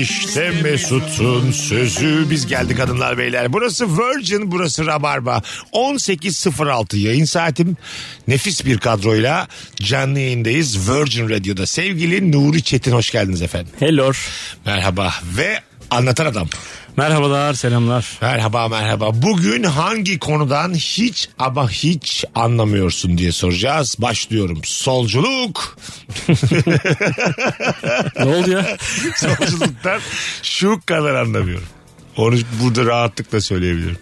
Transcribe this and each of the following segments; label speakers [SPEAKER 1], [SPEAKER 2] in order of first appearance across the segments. [SPEAKER 1] İşte Mesut'un sözü. Biz geldik hanımlar beyler. Burası Virgin, burası Rabarba. 18.06 yayın saatim. Nefis bir kadroyla canlı yayındayız Virgin Radio'da. Sevgili Nuri Çetin hoş geldiniz efendim.
[SPEAKER 2] Hello.
[SPEAKER 1] Merhaba ve anlatan adam.
[SPEAKER 2] Merhabalar, selamlar.
[SPEAKER 1] Merhaba merhaba. Bugün hangi konudan hiç ama hiç anlamıyorsun diye soracağız. Başlıyorum. Solculuk.
[SPEAKER 2] Ne oldu ya?
[SPEAKER 1] Solculuktan şu kadar anlamıyorum. Onu burada rahatlıkla söyleyebilirim.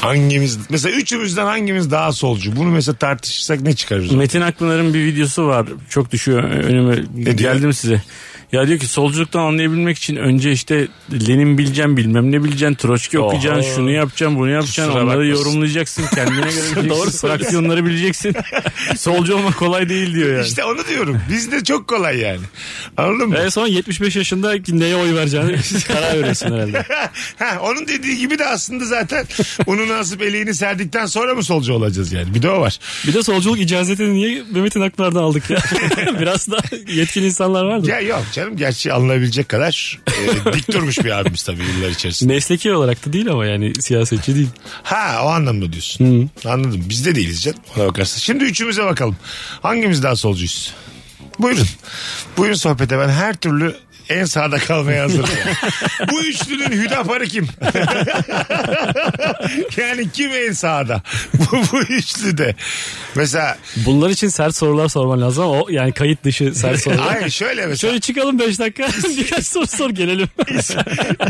[SPEAKER 1] Hangimiz mesela üçümüzden hangimiz daha solcu? Bunu mesela tartışırsak ne çıkarırız?
[SPEAKER 2] Metin Akpınar'ın bir videosu var. Çok düşüyor önüme.
[SPEAKER 1] diyor?
[SPEAKER 2] Geldim size. Ya diyor ki solculuktan anlayabilmek için önce işte Lenin bileceğim bilmem ne bileceksin. Troçki okuyacaksın. Şunu yapacaksın bunu yapacaksın.
[SPEAKER 1] Kusura
[SPEAKER 2] onları
[SPEAKER 1] bakmasın.
[SPEAKER 2] yorumlayacaksın. Kendine göre bileceksin. Fraksiyonları bileceksin. Solcu olmak kolay değil diyor yani.
[SPEAKER 1] İşte onu diyorum. Bizde çok kolay yani. Anladın mı?
[SPEAKER 2] En son 75 yaşında neye oy vereceğini karar veriyorsun herhalde.
[SPEAKER 1] ha, onun dediği gibi de aslında zaten onu nasip eleğini serdikten sonra mı solcu olacağız yani? Bir de o var.
[SPEAKER 2] Bir de solculuk icazetini niye Mehmet'in Akpınar'dan aldık ya? Biraz da yetkili insanlar vardı.
[SPEAKER 1] Ya yok canım gerçi alınabilecek kadar e, dik durmuş bir abimiz tabii yıllar içerisinde.
[SPEAKER 2] Mesleki olarak da değil ama yani siyasetçi değil.
[SPEAKER 1] Ha o anlamda diyorsun. Anladım. Biz de değiliz canım ona bakarsan. Şimdi üçümüze bakalım. Hangimiz daha solcuyuz? Buyurun. Buyurun sohbete ben her türlü en sağda kalmaya hazırım. Bu üçlünün hüdaparı kim? yani kim en sağda? bu, bu üçlü de. Mesela
[SPEAKER 2] Bunlar için sert sorular sorman lazım ama o yani kayıt dışı sert sorular.
[SPEAKER 1] hayır şöyle mesela.
[SPEAKER 2] Şöyle çıkalım 5 dakika birkaç soru sor gelelim.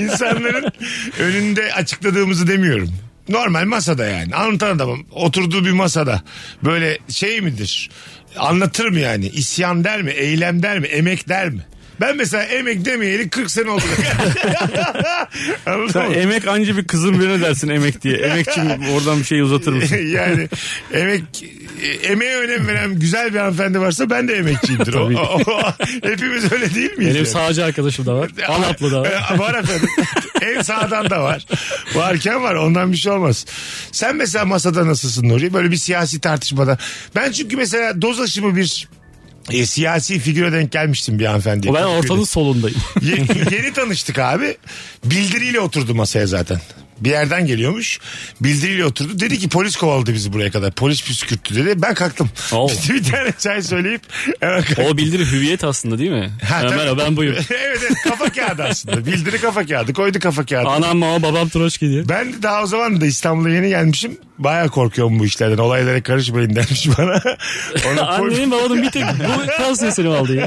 [SPEAKER 1] İnsanların önünde açıkladığımızı demiyorum. Normal masada yani. Anlatan adamım. Oturduğu bir masada. Böyle şey midir? Anlatır mı yani? İsyan der mi? Eylem der mi? Emek der mi? Ben mesela emek demeyeli 40 sene oldu. Anladın mı?
[SPEAKER 2] emek anca bir kızın birine dersin emek diye. Emekçi oradan bir şey uzatır mısın?
[SPEAKER 1] yani emek emeğe önem veren güzel bir hanımefendi varsa ben de emekçiyimdir. o, o- hepimiz öyle değil miyiz?
[SPEAKER 2] Benim
[SPEAKER 1] yani?
[SPEAKER 2] sağcı arkadaşım da var. Anaplı da var.
[SPEAKER 1] Ee, var efendim. en sağdan da var. Varken var ondan bir şey olmaz. Sen mesela masada nasılsın Nuri? Böyle bir siyasi tartışmada. Ben çünkü mesela doz aşımı bir e, siyasi figüre denk gelmiştim bir hanımefendiye.
[SPEAKER 2] Ben ortanın solundayım.
[SPEAKER 1] Ye- yeni, tanıştık abi. Bildiriyle oturdu masaya zaten. Bir yerden geliyormuş. Bildiriyle oturdu. Dedi ki polis kovaladı bizi buraya kadar. Polis püskürttü dedi. Ben kalktım.
[SPEAKER 2] Oo.
[SPEAKER 1] bir tane çay söyleyip hemen kalktım.
[SPEAKER 2] O bildiri hüviyet aslında değil mi?
[SPEAKER 1] Ha,
[SPEAKER 2] Ha,
[SPEAKER 1] tabii.
[SPEAKER 2] merhaba ben buyum.
[SPEAKER 1] evet, evet kafa kağıdı aslında. Bildiri kafa kağıdı. Koydu kafa kağıdı.
[SPEAKER 2] Anam ama babam Troçki diye.
[SPEAKER 1] Ben de daha o zaman da İstanbul'a yeni gelmişim. Baya korkuyorum bu işlerden. Olaylara karışmayın demiş bana. Ona pol-
[SPEAKER 2] Annenin babanın bir tek bu tavsiyesini aldı ya.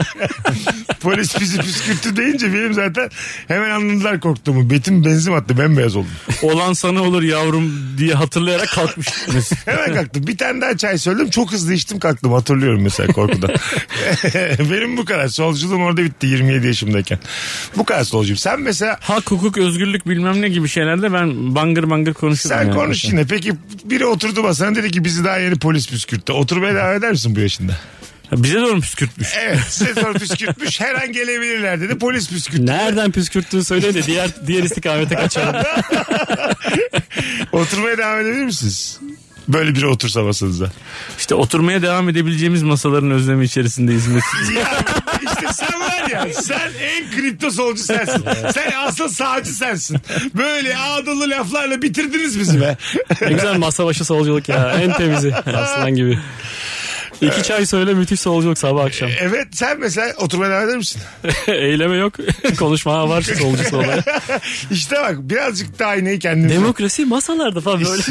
[SPEAKER 1] polis bizi püskürttü deyince benim zaten hemen anladılar korktuğumu. Betim benzin attı bembeyaz oldum.
[SPEAKER 2] Olan sana olur yavrum diye hatırlayarak kalkmış.
[SPEAKER 1] Hemen kalktım. Bir tane daha çay söyledim. Çok hızlı içtim kalktım. Hatırlıyorum mesela korkudan. benim bu kadar. Solculuğum orada bitti 27 yaşımdayken. Bu kadar solcuyum. Sen mesela
[SPEAKER 2] Hak, hukuk, özgürlük bilmem ne gibi şeylerde ben bangır bangır konuşurum.
[SPEAKER 1] sen
[SPEAKER 2] yani.
[SPEAKER 1] konuş yine. Peki biri oturdu masana dedi ki bizi daha yeni polis püskürttü. Oturmaya devam eder misin bu yaşında?
[SPEAKER 2] Ha, Bize doğru mu püskürtmüş?
[SPEAKER 1] Evet size sonra püskürtmüş her an gelebilirler dedi polis püskürttü.
[SPEAKER 2] Nereden püskürttüğünü söyle de diğer diğer istikamete kaçalım.
[SPEAKER 1] Oturmaya devam edebilir misiniz? Böyle biri otursa masanıza.
[SPEAKER 2] İşte oturmaya devam edebileceğimiz masaların özlemi içerisindeyiz. Mesut.
[SPEAKER 1] Ya işte sen var ya sen en kripto solcu sensin. Sen asıl sağcı sensin. Böyle ağdalı laflarla bitirdiniz bizi be.
[SPEAKER 2] ne güzel masa başı solculuk ya. En temizi. Aslan gibi. İki çay söyle müthiş solculuk sabah akşam.
[SPEAKER 1] Evet sen mesela oturmaya devam eder misin?
[SPEAKER 2] Eyleme yok. Konuşma var solcusu olarak.
[SPEAKER 1] İşte bak birazcık daha aynayı kendimize.
[SPEAKER 2] Demokrasi masalarda falan böyle.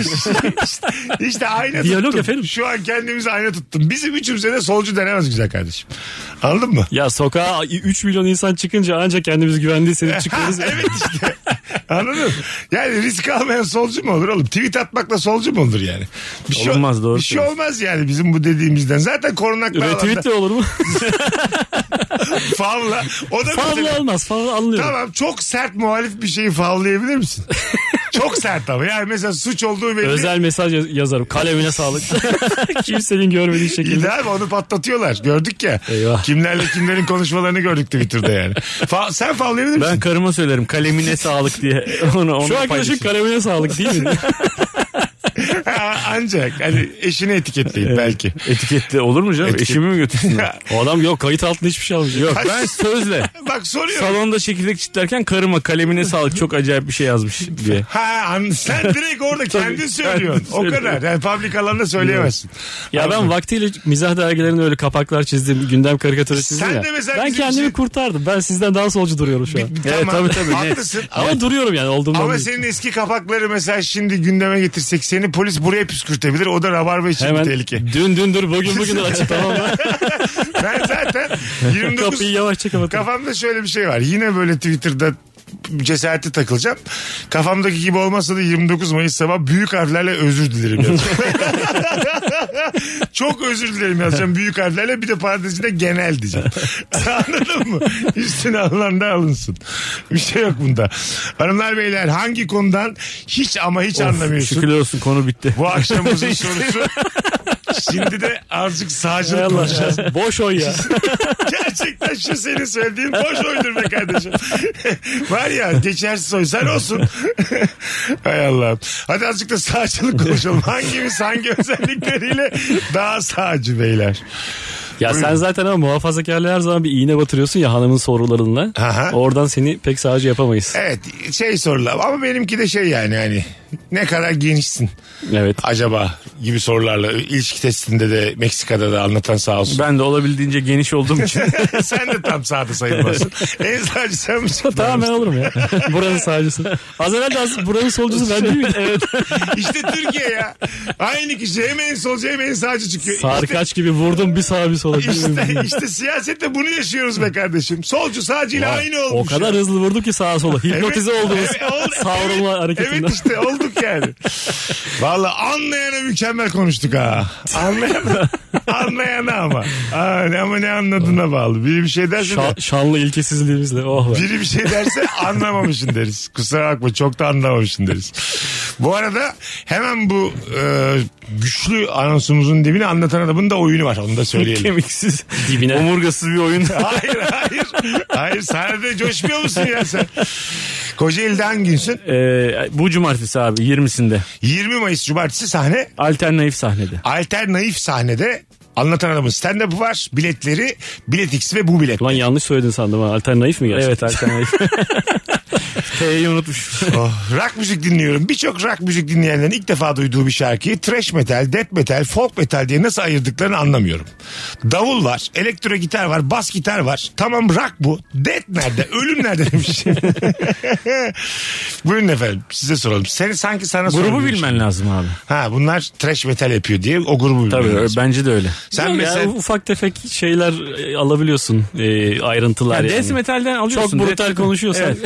[SPEAKER 1] işte ayna
[SPEAKER 2] Diyalog
[SPEAKER 1] tuttum.
[SPEAKER 2] efendim.
[SPEAKER 1] Şu an kendimizi ayna tuttum. Bizim üçümüze de solcu denemez güzel kardeşim. Anladın mı?
[SPEAKER 2] ya sokağa 3 milyon insan çıkınca ancak kendimiz güvende hissedip
[SPEAKER 1] Ha,
[SPEAKER 2] çıkıyoruz.
[SPEAKER 1] evet işte. Anladın mı? Yani risk almayan solcu mu olur oğlum? Tweet atmakla solcu mu olur yani? Bir şey,
[SPEAKER 2] Olmaz, doğru
[SPEAKER 1] Bir şey olmaz yani bizim bu dediğimizden. Zaten korunaklı alanda.
[SPEAKER 2] Retweet de olur mu?
[SPEAKER 1] Favla. O da mesela-
[SPEAKER 2] Favla olmaz. Favla anlıyorum.
[SPEAKER 1] Tamam çok sert muhalif bir şeyi favlayabilir misin? Çok sert ama yani mesela suç olduğu belli.
[SPEAKER 3] Özel mesaj yaz- yazarım. Kalemine sağlık. Kimsenin görmediği şekilde.
[SPEAKER 1] İyi abi onu patlatıyorlar. Gördük ya.
[SPEAKER 3] Eyvah.
[SPEAKER 1] Kimlerle kimlerin konuşmalarını gördük Twitter'da yani. Fa- sen favlayabilir misin?
[SPEAKER 2] Ben karıma söylerim kalemine sağlık diye. Onu, onu
[SPEAKER 3] Şu arkadaşın
[SPEAKER 2] paylaşırım.
[SPEAKER 3] kalemine sağlık değil mi?
[SPEAKER 1] Ha, Ancak hani eşini etiketleyin belki.
[SPEAKER 2] Etiketli olur mu canım?
[SPEAKER 1] Etiket-
[SPEAKER 2] Eşimi mi götürsünler?
[SPEAKER 3] o adam yok kayıt altında hiçbir şey almış.
[SPEAKER 2] Yok ben sözle.
[SPEAKER 1] Bak soruyorum.
[SPEAKER 2] Salonda çekirdek çitlerken karıma kalemine sağlık çok acayip bir şey yazmış diye.
[SPEAKER 1] Ha an- sen direkt orada kendin
[SPEAKER 2] ben
[SPEAKER 1] söylüyorsun. O
[SPEAKER 2] söylüyorum.
[SPEAKER 1] kadar. Yani public alanda söyleyemezsin.
[SPEAKER 3] Ya ben vaktiyle mizah dergilerinde öyle kapaklar çizdim. Gündem karikatürü çizdim
[SPEAKER 1] Sen
[SPEAKER 3] ya.
[SPEAKER 1] de mesela
[SPEAKER 3] ben
[SPEAKER 1] bizim
[SPEAKER 3] kendimi
[SPEAKER 1] için-
[SPEAKER 3] kurtardım. Ben sizden daha solcu duruyorum şu an.
[SPEAKER 1] Tamam,
[SPEAKER 2] tabii, tabii, ne?
[SPEAKER 1] Haklısın.
[SPEAKER 3] Ama
[SPEAKER 1] Ama,
[SPEAKER 3] duruyorum yani olduğumdan
[SPEAKER 1] ama
[SPEAKER 3] değil.
[SPEAKER 1] senin eski kapakları mesela şimdi gündeme getirsek seni polis buraya püskürtebilir. O da rabarba için bir
[SPEAKER 3] Hemen
[SPEAKER 1] tehlike.
[SPEAKER 3] dün dündür bugün bugündür açıklamam ben.
[SPEAKER 1] Ben zaten 29
[SPEAKER 3] Kapıyı yavaşça kapatın.
[SPEAKER 1] Kafamda şöyle bir şey var. Yine böyle Twitter'da cesareti takılacağım. Kafamdaki gibi olmasa da 29 Mayıs sabah büyük harflerle özür dilerim yazacağım. Çok özür dilerim yazacağım büyük harflerle bir de parantezinde genel diyeceğim. Anladın mı? Üstüne alınan da alınsın. Bir şey yok bunda. Hanımlar beyler hangi konudan hiç ama hiç anlamıyorsun.
[SPEAKER 2] Şükürler olsun konu bitti.
[SPEAKER 1] Bu akşamımızın sorusu. Şimdi de azıcık sağcılık konuşacağız.
[SPEAKER 3] Boş oy ya.
[SPEAKER 1] Gerçekten şu senin söylediğin boş oydur be kardeşim. Var ya geçersiz oy sen olsun. Hay Allah. Hadi azıcık da sağcılık konuşalım. Hangimiz hangi özellikleriyle daha sağcı beyler?
[SPEAKER 3] Ya sen zaten ama muhafazakarlığa her zaman bir iğne batırıyorsun ya hanımın sorularınla.
[SPEAKER 1] Aha.
[SPEAKER 3] Oradan seni pek sağcı yapamayız.
[SPEAKER 1] Evet şey sorular ama benimki de şey yani hani ne kadar genişsin
[SPEAKER 3] Evet.
[SPEAKER 1] acaba gibi sorularla ilişki testinde de Meksika'da da anlatan sağ olsun.
[SPEAKER 2] Ben de olabildiğince geniş olduğum için.
[SPEAKER 1] sen de tam sağda sayılmazsın. en sağcı sen misin?
[SPEAKER 3] Tamam ben olurum ya. buranın sağcısı. Az evvel de az- buranın solcusu
[SPEAKER 1] Şey,
[SPEAKER 3] ben değil miyim? Evet.
[SPEAKER 1] İşte Türkiye ya. Aynı kişi hem en solcu hem en sağcı çıkıyor. İşte-
[SPEAKER 3] Sarkaç gibi vurdum bir sağa bir sola.
[SPEAKER 1] İşte, işte siyasette bunu yaşıyoruz be kardeşim. Solcu sağcıyla aynı
[SPEAKER 3] O
[SPEAKER 1] olmuş.
[SPEAKER 3] kadar
[SPEAKER 1] ya.
[SPEAKER 3] hızlı vurdum ki sağa sola. Hipnotize
[SPEAKER 1] Evet,
[SPEAKER 3] oldunuz.
[SPEAKER 1] evet, oldu.
[SPEAKER 3] Savrulma
[SPEAKER 1] Evet,
[SPEAKER 3] hareketinden.
[SPEAKER 1] Evet işte olduk yani. Valla anlayana mükemmel konuştuk ha. Anlayana, anlayana ama. Ha, ne- ama ne anladığına bağlı. Biri bir şey derse de,
[SPEAKER 3] Şa- şanlı ilkesizliğimizle. Oh be.
[SPEAKER 1] biri bir şey derse anlamamışsın deriz. Kusura bakma çok da anlamamışsın deriz. Bu arada hemen bu e, güçlü anonsumuzun dibine anlatan adamın da oyunu var. Onu da söyleyelim.
[SPEAKER 2] Kemiksiz.
[SPEAKER 3] Dibine.
[SPEAKER 2] Omurgasız bir oyun.
[SPEAKER 1] Hayır hayır. Hayır sahnede coşmuyor musun ya sen? Kocaeli'de hangi günsün?
[SPEAKER 2] Ee, bu cumartesi abi 20'sinde.
[SPEAKER 1] 20 Mayıs Cumartesi sahne.
[SPEAKER 2] Alternatif sahnede.
[SPEAKER 1] Alternatif sahnede anlatan adamın stand-up'ı var. Biletleri Bilet X ve bu bilet.
[SPEAKER 3] Ulan yanlış söyledin sandım ha. Alternatif mi gerçekten?
[SPEAKER 2] Evet alternatif. T'yi unutmuş.
[SPEAKER 1] Oh, rock müzik dinliyorum. Birçok rock müzik dinleyenlerin ilk defa duyduğu bir şarkıyı trash metal, death metal, folk metal diye nasıl ayırdıklarını anlamıyorum. Davul var, elektro gitar var, bas gitar var. Tamam rock bu. Death nerede? Ölüm nerede demiş. Buyurun efendim size soralım. Seni sanki sana
[SPEAKER 2] Grubu
[SPEAKER 1] sorulmuş.
[SPEAKER 2] bilmen lazım abi.
[SPEAKER 1] Ha bunlar trash metal yapıyor diye o grubu
[SPEAKER 2] Tabii
[SPEAKER 1] bilmen
[SPEAKER 2] ö-
[SPEAKER 1] lazım.
[SPEAKER 2] bence de öyle.
[SPEAKER 1] Sen
[SPEAKER 3] Yok ya,
[SPEAKER 1] mesela
[SPEAKER 3] ufak tefek şeyler e, alabiliyorsun. e, ayrıntılar
[SPEAKER 2] Yani
[SPEAKER 3] yani.
[SPEAKER 2] Death metalden alıyorsun.
[SPEAKER 3] Çok brutal
[SPEAKER 2] Death-
[SPEAKER 3] konuşuyorsan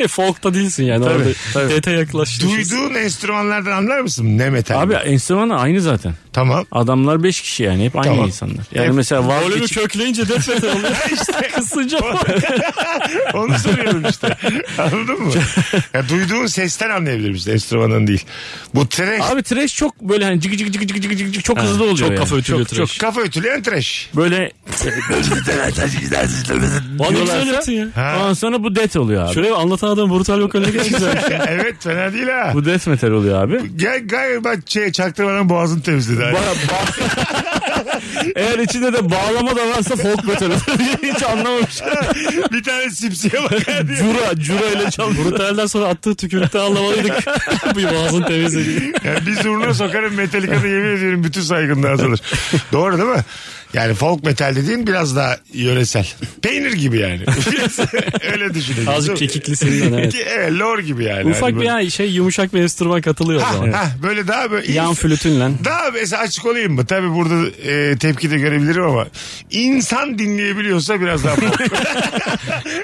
[SPEAKER 2] Evet.
[SPEAKER 3] folk'ta değilsin yani.
[SPEAKER 2] Tabii,
[SPEAKER 3] Orada
[SPEAKER 2] tabii.
[SPEAKER 3] detay yaklaşıyorsun.
[SPEAKER 1] duyduğun enstrümanlardan anlar mısın? Ne metal?
[SPEAKER 2] Abi enstrümanı aynı zaten.
[SPEAKER 1] Tamam.
[SPEAKER 2] Adamlar 5 kişi yani hep aynı
[SPEAKER 1] Tamam.
[SPEAKER 2] insanlar. Yani
[SPEAKER 1] Hep-
[SPEAKER 2] mesela
[SPEAKER 3] Volümü
[SPEAKER 2] vazgeç...
[SPEAKER 3] kökleyince E, death metal oluyor. Kısınca
[SPEAKER 1] Onu soruyorum işte. Anladın mı? Ya duyduğun sesten anlayabilir misin enstrümandan değil. Bu trash.
[SPEAKER 2] Abi trash çok böyle hani cık cık cık cık cık cık cık çok hızlı oluyor.
[SPEAKER 3] çok
[SPEAKER 2] yani.
[SPEAKER 3] kafa ötülüyor
[SPEAKER 2] Çok- çok
[SPEAKER 3] trash.
[SPEAKER 1] Kafa ötüleyen trash.
[SPEAKER 2] Böyle
[SPEAKER 3] Lan ne
[SPEAKER 2] Diyorlarsa-
[SPEAKER 3] güzel yaptın ya.
[SPEAKER 1] Ha.
[SPEAKER 2] ondan sonra bu death oluyor abi.
[SPEAKER 3] Şuraya anlatan adam brutal vokaline geçmiş.
[SPEAKER 1] evet fena değil ha.
[SPEAKER 2] Bu death metal oluyor abi.
[SPEAKER 1] Gel galiba şey, çaktırmadan boğazını temizledi. Hani.
[SPEAKER 2] Eğer içinde de bağlama da varsa folk metal. Hiç anlamamış.
[SPEAKER 1] bir tane simsiye bakar diye.
[SPEAKER 2] Cura, cura ile çalmış.
[SPEAKER 3] Brutalden sonra attığı tükürükte anlamalıydık. Bu boğazın temizlediği.
[SPEAKER 1] Yani bir zurna sokarım Metallica'da yemin ediyorum bütün saygınlığı azalır. Doğru değil mi? Yani folk metal dediğin biraz daha yöresel. Peynir gibi yani. Öyle düşünelim.
[SPEAKER 3] Azıcık
[SPEAKER 1] değil mi?
[SPEAKER 3] kekiklisinden evet.
[SPEAKER 1] Ki- Evet lor gibi yani.
[SPEAKER 3] Ufak
[SPEAKER 1] Hani
[SPEAKER 3] bir
[SPEAKER 1] böyle-
[SPEAKER 3] yani şey yumuşak bir enstrüman katılıyor o
[SPEAKER 1] Ha,
[SPEAKER 3] zaman.
[SPEAKER 1] ha, böyle daha böyle
[SPEAKER 3] Yan
[SPEAKER 1] ins-
[SPEAKER 3] flütünle.
[SPEAKER 1] daha mesela açık olayım mı? Tabii burada e, tepki de görebilirim ama insan dinleyebiliyorsa biraz daha folk.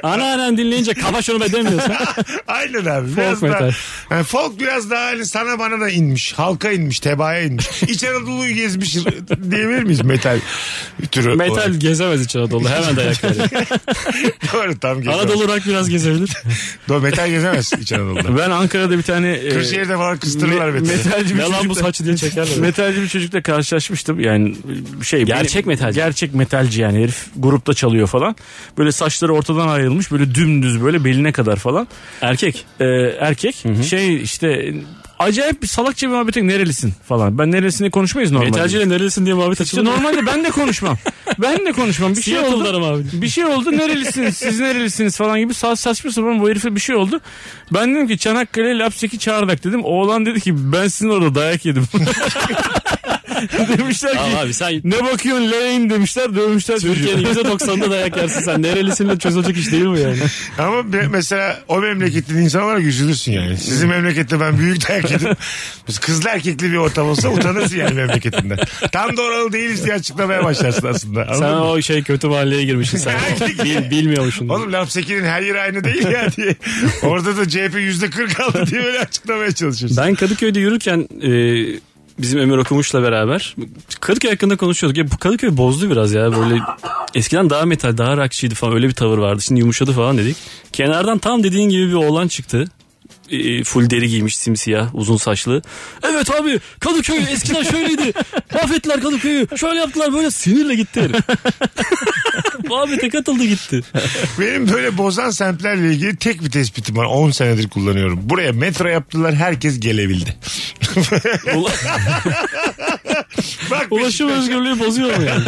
[SPEAKER 3] Ana anan dinleyince kaba şunu be demiyorsun.
[SPEAKER 1] Aynen abi. Biraz
[SPEAKER 3] Folk
[SPEAKER 1] daha,
[SPEAKER 3] metal.
[SPEAKER 1] Yani folk biraz daha hani sana bana da inmiş. Halka inmiş, tebaya inmiş. İç Anadolu'yu gezmiş diyebilir miyiz metal? bir türü.
[SPEAKER 2] Metal gezemez İç Anadolu. Hemen dayak yer.
[SPEAKER 1] Doğru tam geçiyor.
[SPEAKER 2] Anadolu rock biraz gezebilir.
[SPEAKER 1] Doğru metal gezemez İç Anadolu'da.
[SPEAKER 4] Ben Ankara'da bir tane... e,
[SPEAKER 1] Kırşehir'de falan kıstırırlar
[SPEAKER 4] me-
[SPEAKER 1] metali.
[SPEAKER 4] metalci bir
[SPEAKER 2] ne lan bu
[SPEAKER 4] çocukla-
[SPEAKER 2] saçı diye çekerler.
[SPEAKER 4] Metalci bir çocukla karşılaşmıştım. Yani şey
[SPEAKER 2] Gerçek metalci.
[SPEAKER 4] Gerçek metalci yani herif grupta çalıyor falan. Böyle saçları ortadan ayrılmış böyle dümdüz böyle beline kadar falan.
[SPEAKER 2] Erkek.
[SPEAKER 4] Ee, erkek şey işte acayip bir salakça bir muhabbetin nerelisin falan. Ben neresini konuşmayız normalde.
[SPEAKER 2] Metalciyle nerelisin diye muhabbet
[SPEAKER 4] İşte
[SPEAKER 2] açıldı.
[SPEAKER 4] normalde ben de konuşmam. Ben de konuşmam. Bir şey
[SPEAKER 2] Seattle'darım
[SPEAKER 4] oldu.
[SPEAKER 2] abi.
[SPEAKER 4] Bir şey oldu. Nerelisiniz? Siz nerelisiniz falan gibi sa saçma sapan bu herife bir şey oldu. Ben dedim ki Çanakkale Lapseki Çağırdak dedim. Oğlan dedi ki ben sizin orada dayak yedim. demişler
[SPEAKER 2] Tamam
[SPEAKER 4] ki
[SPEAKER 2] abi sen
[SPEAKER 4] ne bakıyorsun leğen demişler dövmüşler
[SPEAKER 2] Türkiye'nin
[SPEAKER 4] çocuğu.
[SPEAKER 2] %90'ında dayak yersin sen. Nerelisin de çözülecek iş değil bu yani.
[SPEAKER 1] Ama bir- mesela o memleketin insanı olarak üzülürsün yani. Sizin memlekette ben büyük dayak yedim. Biz kızlı erkekli bir ortam olsa utanırsın yani memleketinden. Tam da oralı değiliz diye açıklamaya başlarsın aslında. Anladın
[SPEAKER 2] Sen
[SPEAKER 1] mı?
[SPEAKER 2] o şey kötü mahalleye girmişsin sen.
[SPEAKER 1] Erkek.
[SPEAKER 2] Bil, bilmiyormuşsun.
[SPEAKER 1] Oğlum Lapseki'nin her yeri aynı değil ya diye. Orada da CHP yüzde kırk aldı diye böyle açıklamaya çalışıyorsun.
[SPEAKER 2] Ben Kadıköy'de yürürken e, bizim Ömer Okumuş'la beraber Kadıköy hakkında konuşuyorduk. Ya bu Kadıköy bozdu biraz ya böyle eskiden daha metal daha rockçıydı falan öyle bir tavır vardı. Şimdi yumuşadı falan dedik. Kenardan tam dediğin gibi bir oğlan çıktı. E, full deri giymiş simsiyah uzun saçlı. Evet abi Kadıköy eskiden şöyleydi. Mahvettiler Kadıköy'ü. Şöyle yaptılar böyle sinirle gitti herif. Muhabbete katıldı gitti.
[SPEAKER 1] Benim böyle bozan semtlerle ilgili tek bir tespitim var. 10 senedir kullanıyorum. Buraya metro yaptılar herkes gelebildi. Bak,
[SPEAKER 2] Ulaşım
[SPEAKER 1] Beşiktaş,
[SPEAKER 2] özgürlüğü bozuyor mu yani?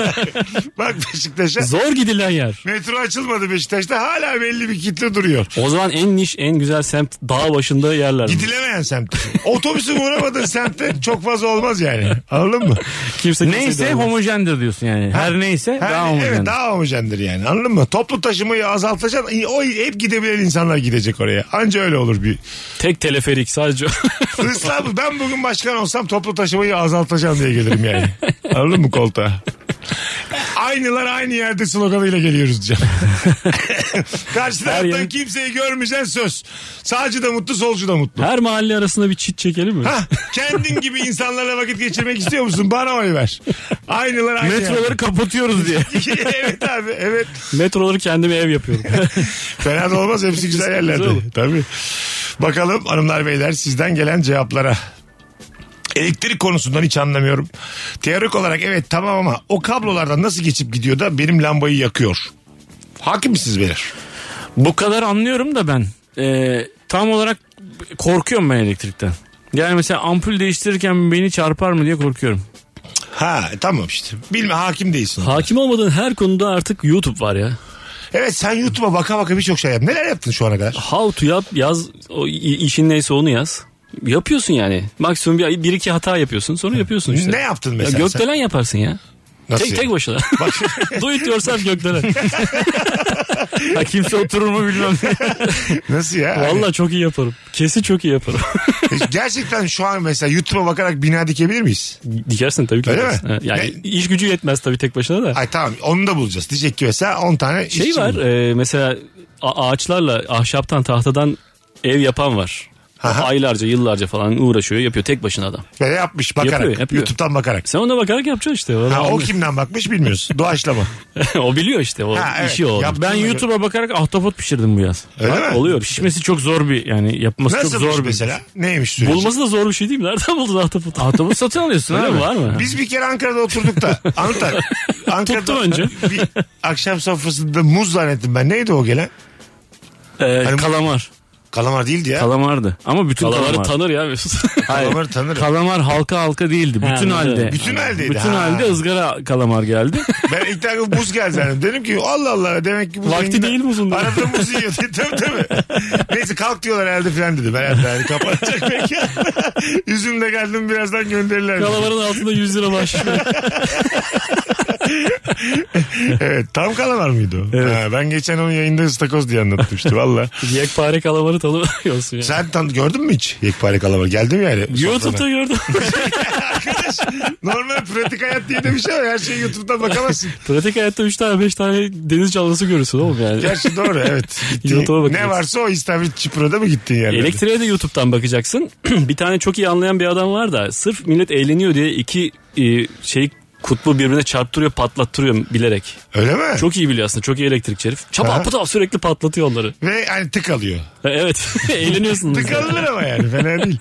[SPEAKER 1] bak Beşiktaş'a.
[SPEAKER 2] Zor gidilen yer.
[SPEAKER 1] Metro açılmadı Beşiktaş'ta hala belli bir kitle duruyor.
[SPEAKER 2] O zaman en niş en güzel semt dağ başında yerler.
[SPEAKER 1] Gidilemeyen semt. Otobüsün uğramadığın semtte çok fazla olmaz yani. Anladın mı?
[SPEAKER 2] Kimse kimseyi
[SPEAKER 4] Neyse
[SPEAKER 2] dövmez.
[SPEAKER 4] homojendir diyorsun yani. Her neyse
[SPEAKER 1] Her-
[SPEAKER 4] daha
[SPEAKER 1] evet,
[SPEAKER 4] homojendir.
[SPEAKER 1] daha homojendir yani. Anladın mı? Toplu taşımayı azaltacaksın. O hep gidebilen insanlar gidecek oraya. Anca öyle olur bir.
[SPEAKER 2] Tek teleferik sadece.
[SPEAKER 1] Hırsla ben bugün başkan olsam toplu taşımayı azaltacağım diye gelirim yani. Anladın mı koltuğa? Aynılar aynı yerde sloganıyla geliyoruz diyeceğim. Karşı taraftan
[SPEAKER 2] yer-
[SPEAKER 1] kimseyi görmeyeceksin söz. Sağcı da mutlu, solcu da mutlu.
[SPEAKER 2] Her mahalle arasında bir çit çekelim mi?
[SPEAKER 1] Hah, kendin gibi insanlarla vakit geçirmek istiyor musun? Bana oy ver. Aynılar aynı.
[SPEAKER 4] Metroları kapatıyoruz diye.
[SPEAKER 1] yerde. evet abi evet.
[SPEAKER 2] Metroları kendime ev yapıyorum.
[SPEAKER 1] Fena da olmaz hepsi güzel yerlerde.
[SPEAKER 2] olur.
[SPEAKER 1] Tabii. Bakalım hanımlar beyler sizden gelen cevaplara. Elektrik konusundan hiç anlamıyorum. Teorik olarak evet tamam ama o kablolardan nasıl geçip gidiyor da benim lambayı yakıyor. Hakim misiniz beyler?
[SPEAKER 4] Bu kadar anlıyorum da ben. Ee, tam olarak korkuyorum ben elektrikten. Yani mesela ampul değiştirirken beni çarpar mı diye korkuyorum.
[SPEAKER 1] Ha E, tamam işte. Bilme hakim değilsin.
[SPEAKER 2] Hakim olmadığın her konuda artık YouTube var ya.
[SPEAKER 1] Evet sen YouTube'a baka baka birçok şey yaptın. Neler yaptın şu ana kadar?
[SPEAKER 2] How to yap yaz o i- işin neyse onu yaz. Yapıyorsun yani. Maksimum bir, bir iki hata yapıyorsun sonra yapıyorsun işte.
[SPEAKER 1] Ne yaptın
[SPEAKER 2] Ya
[SPEAKER 1] mesela sen?
[SPEAKER 2] gökdelen yaparsın ya.
[SPEAKER 1] Nasıl
[SPEAKER 2] tek
[SPEAKER 1] yani?
[SPEAKER 2] tek başına. Do it yourself gökdelen.
[SPEAKER 4] Ha, kimse oturur mu bilmem.
[SPEAKER 1] Nasıl ya?
[SPEAKER 2] Valla çok iyi yaparım. Kesin çok iyi yaparım.
[SPEAKER 1] Hani gerçekten şu an mesela YouTube'a bakarak bina dikebilir miyiz?
[SPEAKER 2] Dikersin tabii ki.
[SPEAKER 1] Öyle
[SPEAKER 2] dikersin.
[SPEAKER 1] mi?
[SPEAKER 2] Ha, Yani
[SPEAKER 1] Ne-
[SPEAKER 2] iş gücü yetmez tabii tek başına da.
[SPEAKER 1] Ay tamam onu da bulacağız. Diyecek ki mesela 10 tane
[SPEAKER 2] Şey
[SPEAKER 1] işçi
[SPEAKER 2] var
[SPEAKER 1] bulun.
[SPEAKER 2] e, mesela a- ağaçlarla ahşaptan tahtadan ev yapan var.
[SPEAKER 1] Aha.
[SPEAKER 2] Aylarca yıllarca falan uğraşıyor yapıyor tek başına adam.
[SPEAKER 1] Böyle yapmış bakarak.
[SPEAKER 2] Yapıyor, yapıyor.
[SPEAKER 1] YouTube'dan bakarak.
[SPEAKER 2] Sen ona bakarak yapacaksın işte. O,
[SPEAKER 1] Ha, o
[SPEAKER 2] o,
[SPEAKER 1] kimden bakmış bilmiyorsun. Doğaçlama.
[SPEAKER 2] biliyor işte o
[SPEAKER 1] Ha, evet.
[SPEAKER 2] işi o.
[SPEAKER 1] Yap-
[SPEAKER 4] Ben YouTube'a bakarak ahtapot pişirdim bu yaz.
[SPEAKER 1] Öyle mi?
[SPEAKER 2] Oluyor.
[SPEAKER 4] Pişmesi çok zor bir yani yapması
[SPEAKER 1] Nasıl
[SPEAKER 4] çok
[SPEAKER 2] şey.
[SPEAKER 4] zor bir. şey.
[SPEAKER 1] mesela? Neymiş süreci?
[SPEAKER 2] Bulması da zor bir şey değil mi? Nereden buldun ahtapotu?
[SPEAKER 4] Ahtapotu satın alıyorsun
[SPEAKER 2] Öyle
[SPEAKER 4] abi.
[SPEAKER 2] mi? Var mı?
[SPEAKER 1] Biz bir kere Ankara'da oturduk da. Anlatan. Ankara'da
[SPEAKER 2] Tuttum önce.
[SPEAKER 1] Bir akşam sofrasında muz zannettim ben. Neydi o gelen?
[SPEAKER 4] Ee,
[SPEAKER 1] Hani-
[SPEAKER 4] kalamar.
[SPEAKER 1] Kalamar değildi ya.
[SPEAKER 4] Kalamardı. Ama bütün
[SPEAKER 2] Kalamarı
[SPEAKER 4] kalamar.
[SPEAKER 2] tanır ya Mesut.
[SPEAKER 4] Hayır.
[SPEAKER 1] Kalamarı tanırım.
[SPEAKER 4] Kalamar halka halka değildi. Bütün
[SPEAKER 2] anladım.
[SPEAKER 4] halde.
[SPEAKER 1] Bütün haldeydi.
[SPEAKER 4] Bütün
[SPEAKER 1] ha.
[SPEAKER 4] halde ızgara kalamar geldi.
[SPEAKER 1] Ben ilk defa muz geldi zannettim. Dedim ki Allah Allah demek ki muz
[SPEAKER 2] Vakti
[SPEAKER 1] yeniden-
[SPEAKER 2] değil muzun dedi.
[SPEAKER 1] Arada muz yiyor. Tabii tabii. Neyse kalk diyorlar herhalde falan dedi. Ben herhalde hani kapanacak belki. Üzümle geldim birazdan gönderirler. dedi.
[SPEAKER 2] Kalamarın altında 100 lira bahşiş.
[SPEAKER 1] Evet tam kalamar mıydı o? Ha, ben geçen onu yayında ıstakoz diye anlattım işte valla.
[SPEAKER 2] Yekpare kalamarı tanımıyorsun ya.
[SPEAKER 1] Sen tan- gördün mü hiç yekpare kalamar? Geldim yani.
[SPEAKER 2] YouTube'da gördüm.
[SPEAKER 1] Arkadaş normal pratik hayat diye de bir şey var. Her şeyi YouTube'dan bakamazsın.
[SPEAKER 2] Pratik hayatta 3 tane 5 tane deniz canlısı görürsün oğlum yani.
[SPEAKER 1] Gerçi doğru evet. Gittiğin-
[SPEAKER 2] YouTube'a
[SPEAKER 1] ne
[SPEAKER 2] bakacaksın.
[SPEAKER 1] varsa o İstanbul Çipro'da mı gittin yani?
[SPEAKER 2] Elektriğe de YouTube'dan bakacaksın. bir tane çok iyi anlayan bir adam var da sırf millet eğleniyor diye iki e, şey
[SPEAKER 3] kutbu birbirine çarptırıyor patlattırıyor bilerek.
[SPEAKER 1] Öyle mi?
[SPEAKER 3] Çok iyi biliyor aslında çok iyi elektrikçi herif. Çapa pıtav sürekli patlatıyor onları. E,
[SPEAKER 1] Ve hani tık alıyor.
[SPEAKER 3] Evet eğleniyorsunuz.
[SPEAKER 1] Tık alınır ama yani fena değil.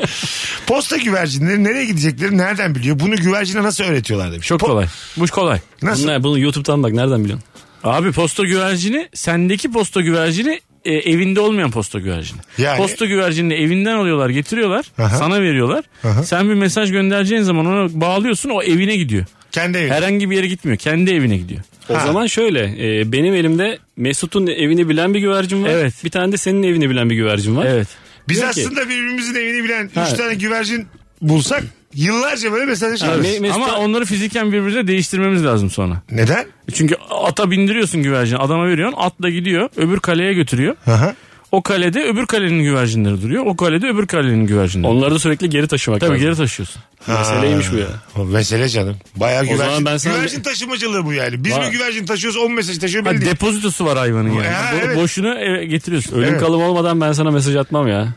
[SPEAKER 1] Posta güvercinleri nereye gidecekleri nereden biliyor? Bunu güvercine nasıl öğretiyorlar demiş.
[SPEAKER 2] Çok
[SPEAKER 1] Po-
[SPEAKER 2] kolay. Bu kolay.
[SPEAKER 1] Nasıl?
[SPEAKER 3] Bunlar bunu YouTube'dan bak nereden biliyorsun?
[SPEAKER 2] Abi posta güvercini sendeki posta güvercini e, evinde olmayan posta güvercini.
[SPEAKER 1] Yani-
[SPEAKER 2] Posta güvercinini evinden alıyorlar getiriyorlar
[SPEAKER 1] Aha.
[SPEAKER 2] sana veriyorlar. Sen bir mesaj göndereceğin zaman ona bağlıyorsun o evine gidiyor.
[SPEAKER 1] Kendi evine.
[SPEAKER 2] Herhangi bir yere gitmiyor kendi evine gidiyor.
[SPEAKER 3] O
[SPEAKER 1] Ha.
[SPEAKER 3] zaman şöyle e, benim elimde Mesut'un evini bilen bir güvercin var.
[SPEAKER 2] Evet.
[SPEAKER 3] Bir tane de senin evini bilen bir güvercin var.
[SPEAKER 2] Evet.
[SPEAKER 1] Biz
[SPEAKER 3] Diyor ki-
[SPEAKER 1] aslında birbirimizin evini bilen 3 tane güvercin bulsak yıllarca böyle mesajlaşırız.
[SPEAKER 3] Me- Mesut-
[SPEAKER 2] Ama onları fiziken birbirine değiştirmemiz lazım sonra.
[SPEAKER 1] Neden?
[SPEAKER 2] Çünkü ata bindiriyorsun güvercini adama veriyorsun atla gidiyor öbür kaleye götürüyor.
[SPEAKER 1] Aha.
[SPEAKER 2] O kalede öbür kalenin güvercinleri duruyor. O kalede öbür kalenin güvercinleri.
[SPEAKER 3] Onları da sürekli geri taşımak
[SPEAKER 2] Tabii
[SPEAKER 3] lazım.
[SPEAKER 2] geri taşıyorsun.
[SPEAKER 3] Meseleymiş bu ya.
[SPEAKER 1] O mesele canım. Bayağı
[SPEAKER 3] zaman
[SPEAKER 1] güvercin.
[SPEAKER 3] ben sana-
[SPEAKER 1] Güvercin taşımacılığı bu yani. Biz
[SPEAKER 3] Var.
[SPEAKER 1] mi güvercin taşıyoruz 10 mesaj taşıyor
[SPEAKER 2] Ha,
[SPEAKER 1] belli değil.
[SPEAKER 2] depozitosu var hayvanın yani.
[SPEAKER 1] Ha,
[SPEAKER 2] Bo-
[SPEAKER 1] evet.
[SPEAKER 2] Boşuna eve getiriyorsun.
[SPEAKER 3] Ölüm
[SPEAKER 1] Evet.
[SPEAKER 3] kalım olmadan ben sana mesaj atmam ya.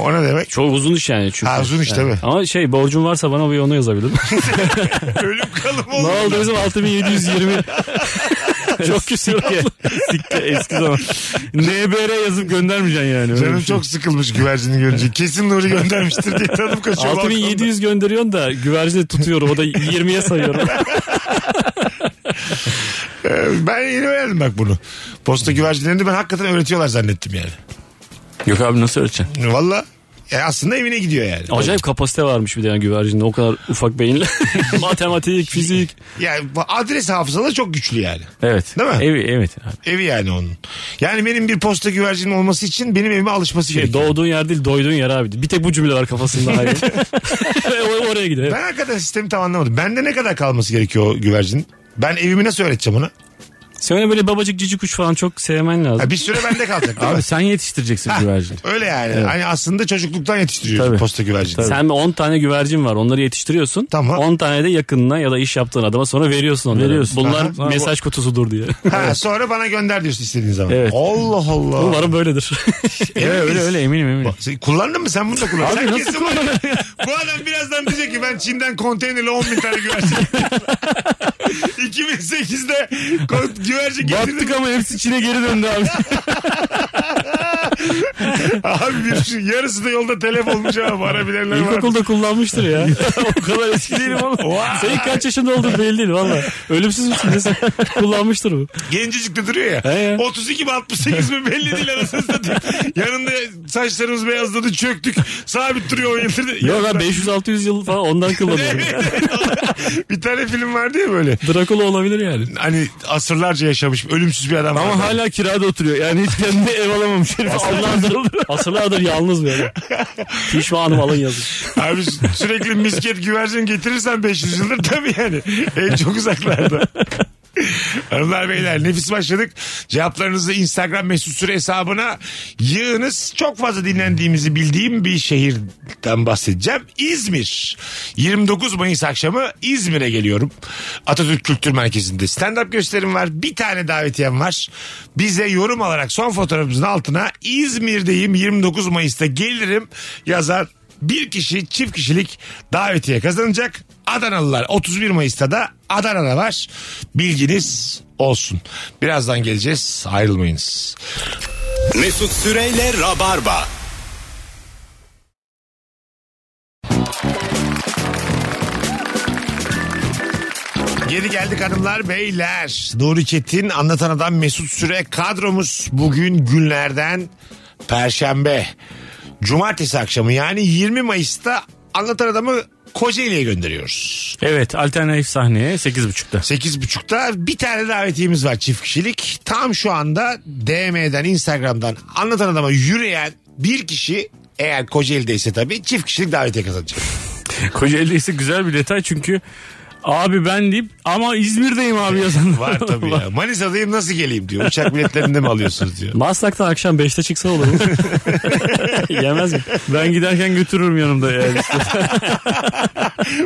[SPEAKER 1] O ne demek?
[SPEAKER 3] Çok uzun iş yani çünkü.
[SPEAKER 1] Ha, uzun iş
[SPEAKER 3] Yani.
[SPEAKER 1] tabii.
[SPEAKER 3] Ama şey borcum varsa bana bir onu yazabilirim.
[SPEAKER 1] Ölüm kalım
[SPEAKER 3] ne
[SPEAKER 1] oldu.
[SPEAKER 3] oldu bizim 6720
[SPEAKER 2] Çok küsür ki. Siktir eski zaman. NBR yazıp göndermeyeceksin yani. öyle
[SPEAKER 1] Canım
[SPEAKER 2] bir şey.
[SPEAKER 1] çok sıkılmış güvercini görünce. Kesin Nuri göndermiştir diye tadım kaçıyor. balkonda.
[SPEAKER 3] 6700 gönderiyorsun da güvercini tutuyorum o da 20'ye sayıyorum.
[SPEAKER 1] Ee, Ben yeni öğrendim bak bunu. Posta güvercinlerini ben hakikaten öğretiyorlar zannettim yani.
[SPEAKER 2] Yok abi nasıl öğreteceksin?
[SPEAKER 1] Valla ya e, aslında evine gidiyor yani.
[SPEAKER 3] Acayip kapasite varmış bir de yani güvercinde o kadar ufak beyinle. Matematik, fizik.
[SPEAKER 1] Yani bu adres hafızaları çok güçlü yani.
[SPEAKER 2] Evet.
[SPEAKER 1] Değil mi?
[SPEAKER 2] Evi evet. Şey, abi.
[SPEAKER 1] Evi yani onun. Yani benim bir posta güvercinim olması için benim evime alışması
[SPEAKER 3] Şey,
[SPEAKER 1] gerekiyor.
[SPEAKER 3] doğduğun yer değil doyduğun yer abi. Bir tek bu cümle var kafasında hayır. Or- Oraya gidiyor.
[SPEAKER 1] Ben hakikaten sistemi tam anlamadım. Bende ne kadar kalması gerekiyor o güvercinin? Ben evimi nasıl öğreteceğim ona?
[SPEAKER 3] Sen öyle böyle babacık cici kuş falan çok sevmen lazım.
[SPEAKER 1] Ha, bir süre bende kalacak değil mi?
[SPEAKER 2] Abi sen yetiştireceksin
[SPEAKER 1] Ha,
[SPEAKER 2] güvercini.
[SPEAKER 1] Öyle yani. Hani aslında çocukluktan yetiştiriyorsun
[SPEAKER 2] Tabii.
[SPEAKER 1] posta güvercini. Sen-
[SPEAKER 3] Sen bir 10 tane güvercin var onları yetiştiriyorsun.
[SPEAKER 1] Tamam.
[SPEAKER 3] 10 tane de yakınına ya da iş yaptığın adama sonra veriyorsun onları.
[SPEAKER 2] Veriyorsun.
[SPEAKER 3] Bunlar
[SPEAKER 2] Aha.
[SPEAKER 3] mesaj kutusudur diye.
[SPEAKER 1] Ha, sonra bana gönder diyorsun istediğin zaman.
[SPEAKER 2] Evet.
[SPEAKER 1] Allah Allah.
[SPEAKER 3] Umarım böyledir.
[SPEAKER 1] Emin
[SPEAKER 2] Evet, öyle
[SPEAKER 1] miyiz?
[SPEAKER 2] öyle eminim eminim.
[SPEAKER 1] Bak, sen kullandın mı sen bunu da kullandın. Sen
[SPEAKER 2] nasıl
[SPEAKER 1] kesin var ya. Bu adam birazdan diyecek ki ben Çin'den konteynerle 10 bin tane güvercin getirdim. 2008'de kon- güvercin getirdim.
[SPEAKER 2] Battık ama hepsi Çin'e geri döndü abi.
[SPEAKER 1] Abi bir şey- yarısı da yolda telef olmuş ama bana bilenler var.
[SPEAKER 3] İlkokulda kullanmıştır ya. o kadar eski değilim ama. Senin kaç yaşında olduğun belli değil valla. Ölümsüz müsün desin. Kullanmıştır bu.
[SPEAKER 1] Gencecik de duruyor ya.
[SPEAKER 3] He ya.
[SPEAKER 1] 32 mi 68 mi belli değil anasını satayım. Yanında saçlarımız beyazladı çöktük. Sabit duruyor 10 yıldır.
[SPEAKER 3] Yok lan 500-600 yıl falan ondan kullanıyor.
[SPEAKER 1] Evet, evet. bir tane film vardı ya böyle.
[SPEAKER 3] Drakula olabilir yani.
[SPEAKER 1] Hani asırlarca yaşamış ölümsüz bir adam.
[SPEAKER 2] ama
[SPEAKER 1] vardı.
[SPEAKER 2] hala kirada oturuyor. Yani hiç kendine ev alamamış herif.
[SPEAKER 3] Asırlardır, asırlardır yalnız böyle. Pişmanım alın yazın.
[SPEAKER 1] Abi sü- sürekli misket güvercin getirirsen 500 yıldır tabii yani. En çok uzaklarda. Hanımlar beyler nefis başladık. Cevaplarınızı Instagram mesut süre hesabına yığınız. Çok fazla dinlendiğimizi bildiğim bir şehirden bahsedeceğim. İzmir. 29 Mayıs akşamı İzmir'e geliyorum. Atatürk Kültür Merkezi'nde stand-up gösterim var. Bir tane davetiyem var. Bize yorum alarak son fotoğrafımızın altına İzmir'deyim 29 Mayıs'ta gelirim yazar bir kişi çift kişilik davetiye kazanacak. Adanalılar 31 Mayıs'ta da Adana'da var. Bilginiz olsun. Birazdan geleceğiz. Ayrılmayınız.
[SPEAKER 5] Mesut Süreyle Rabarba.
[SPEAKER 1] Geri geldik hanımlar beyler. Nuri Çetin anlatan adam Mesut Süre kadromuz bugün günlerden Perşembe. Cumartesi akşamı yani 20 Mayıs'ta anlatan adamı Kocaeli'ye gönderiyoruz.
[SPEAKER 2] evet alternatif sahneye 8.30'da.
[SPEAKER 1] 8.30'da bir tane davetiyemiz var çift kişilik. Tam şu anda DM'den, Instagram'dan anlatan adama yürüyen bir kişi eğer Kocaeli'deyse tabii çift kişilik davetiye kazanacak.
[SPEAKER 2] Kocaeli'de ise güzel bir detay çünkü abi ben deyip ama İzmir'deyim abi yazan.
[SPEAKER 1] Var tabii ya. Manisa'dayım nasıl geleyim diyor. Uçak biletlerini de mi alıyorsunuz diyor.
[SPEAKER 3] Maslak'tan akşam 5'te çıksa olur mu? Yemez mi?
[SPEAKER 2] Ben giderken götürürüm yanımda yani.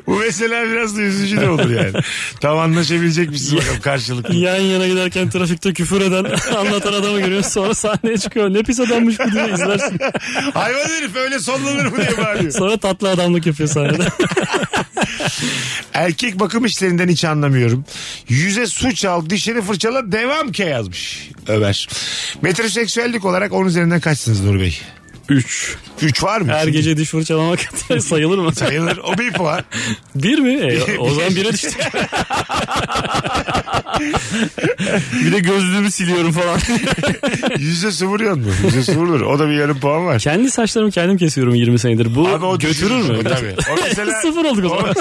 [SPEAKER 1] Bu mesele biraz da üzücü de olur yani. Tam anlaşabilecek misiniz bakalım karşılıklı.
[SPEAKER 3] Yan yana giderken trafikte küfür eden anlatan adamı görüyorsun sonra sahneye çıkıyor. Ne pis adammış bu diye izlersin.
[SPEAKER 1] Hayvan herif öyle sonlanır mı diye bağırıyor.
[SPEAKER 3] Sonra tatlı adamlık yapıyor sahnede.
[SPEAKER 1] Erkek bakım işlerinden hiç anlamıyorum. Yüze su çal, dişini fırçala, devam ke yazmış Ömer. Metroseksüellik olarak 10 üzerinden kaçsınız Nur Bey?
[SPEAKER 3] 3.
[SPEAKER 1] 3 var mı?
[SPEAKER 3] Her gece diş fırçalamak sayılır mı?
[SPEAKER 1] Sayılır. O bir puan.
[SPEAKER 3] Bir mi? E, o zaman bire düştük. bir de gözlüğümü siliyorum falan.
[SPEAKER 1] Yüze su vuruyor mu? Yüze su vurulur. O da bir yarım puan var.
[SPEAKER 3] Kendi saçlarımı kendim kesiyorum 20 senedir. Bu
[SPEAKER 1] Abi o
[SPEAKER 3] götürür
[SPEAKER 1] düşünür
[SPEAKER 3] mü?
[SPEAKER 1] bu Tabii. O mesela,
[SPEAKER 3] Sıfır olduk o zaman.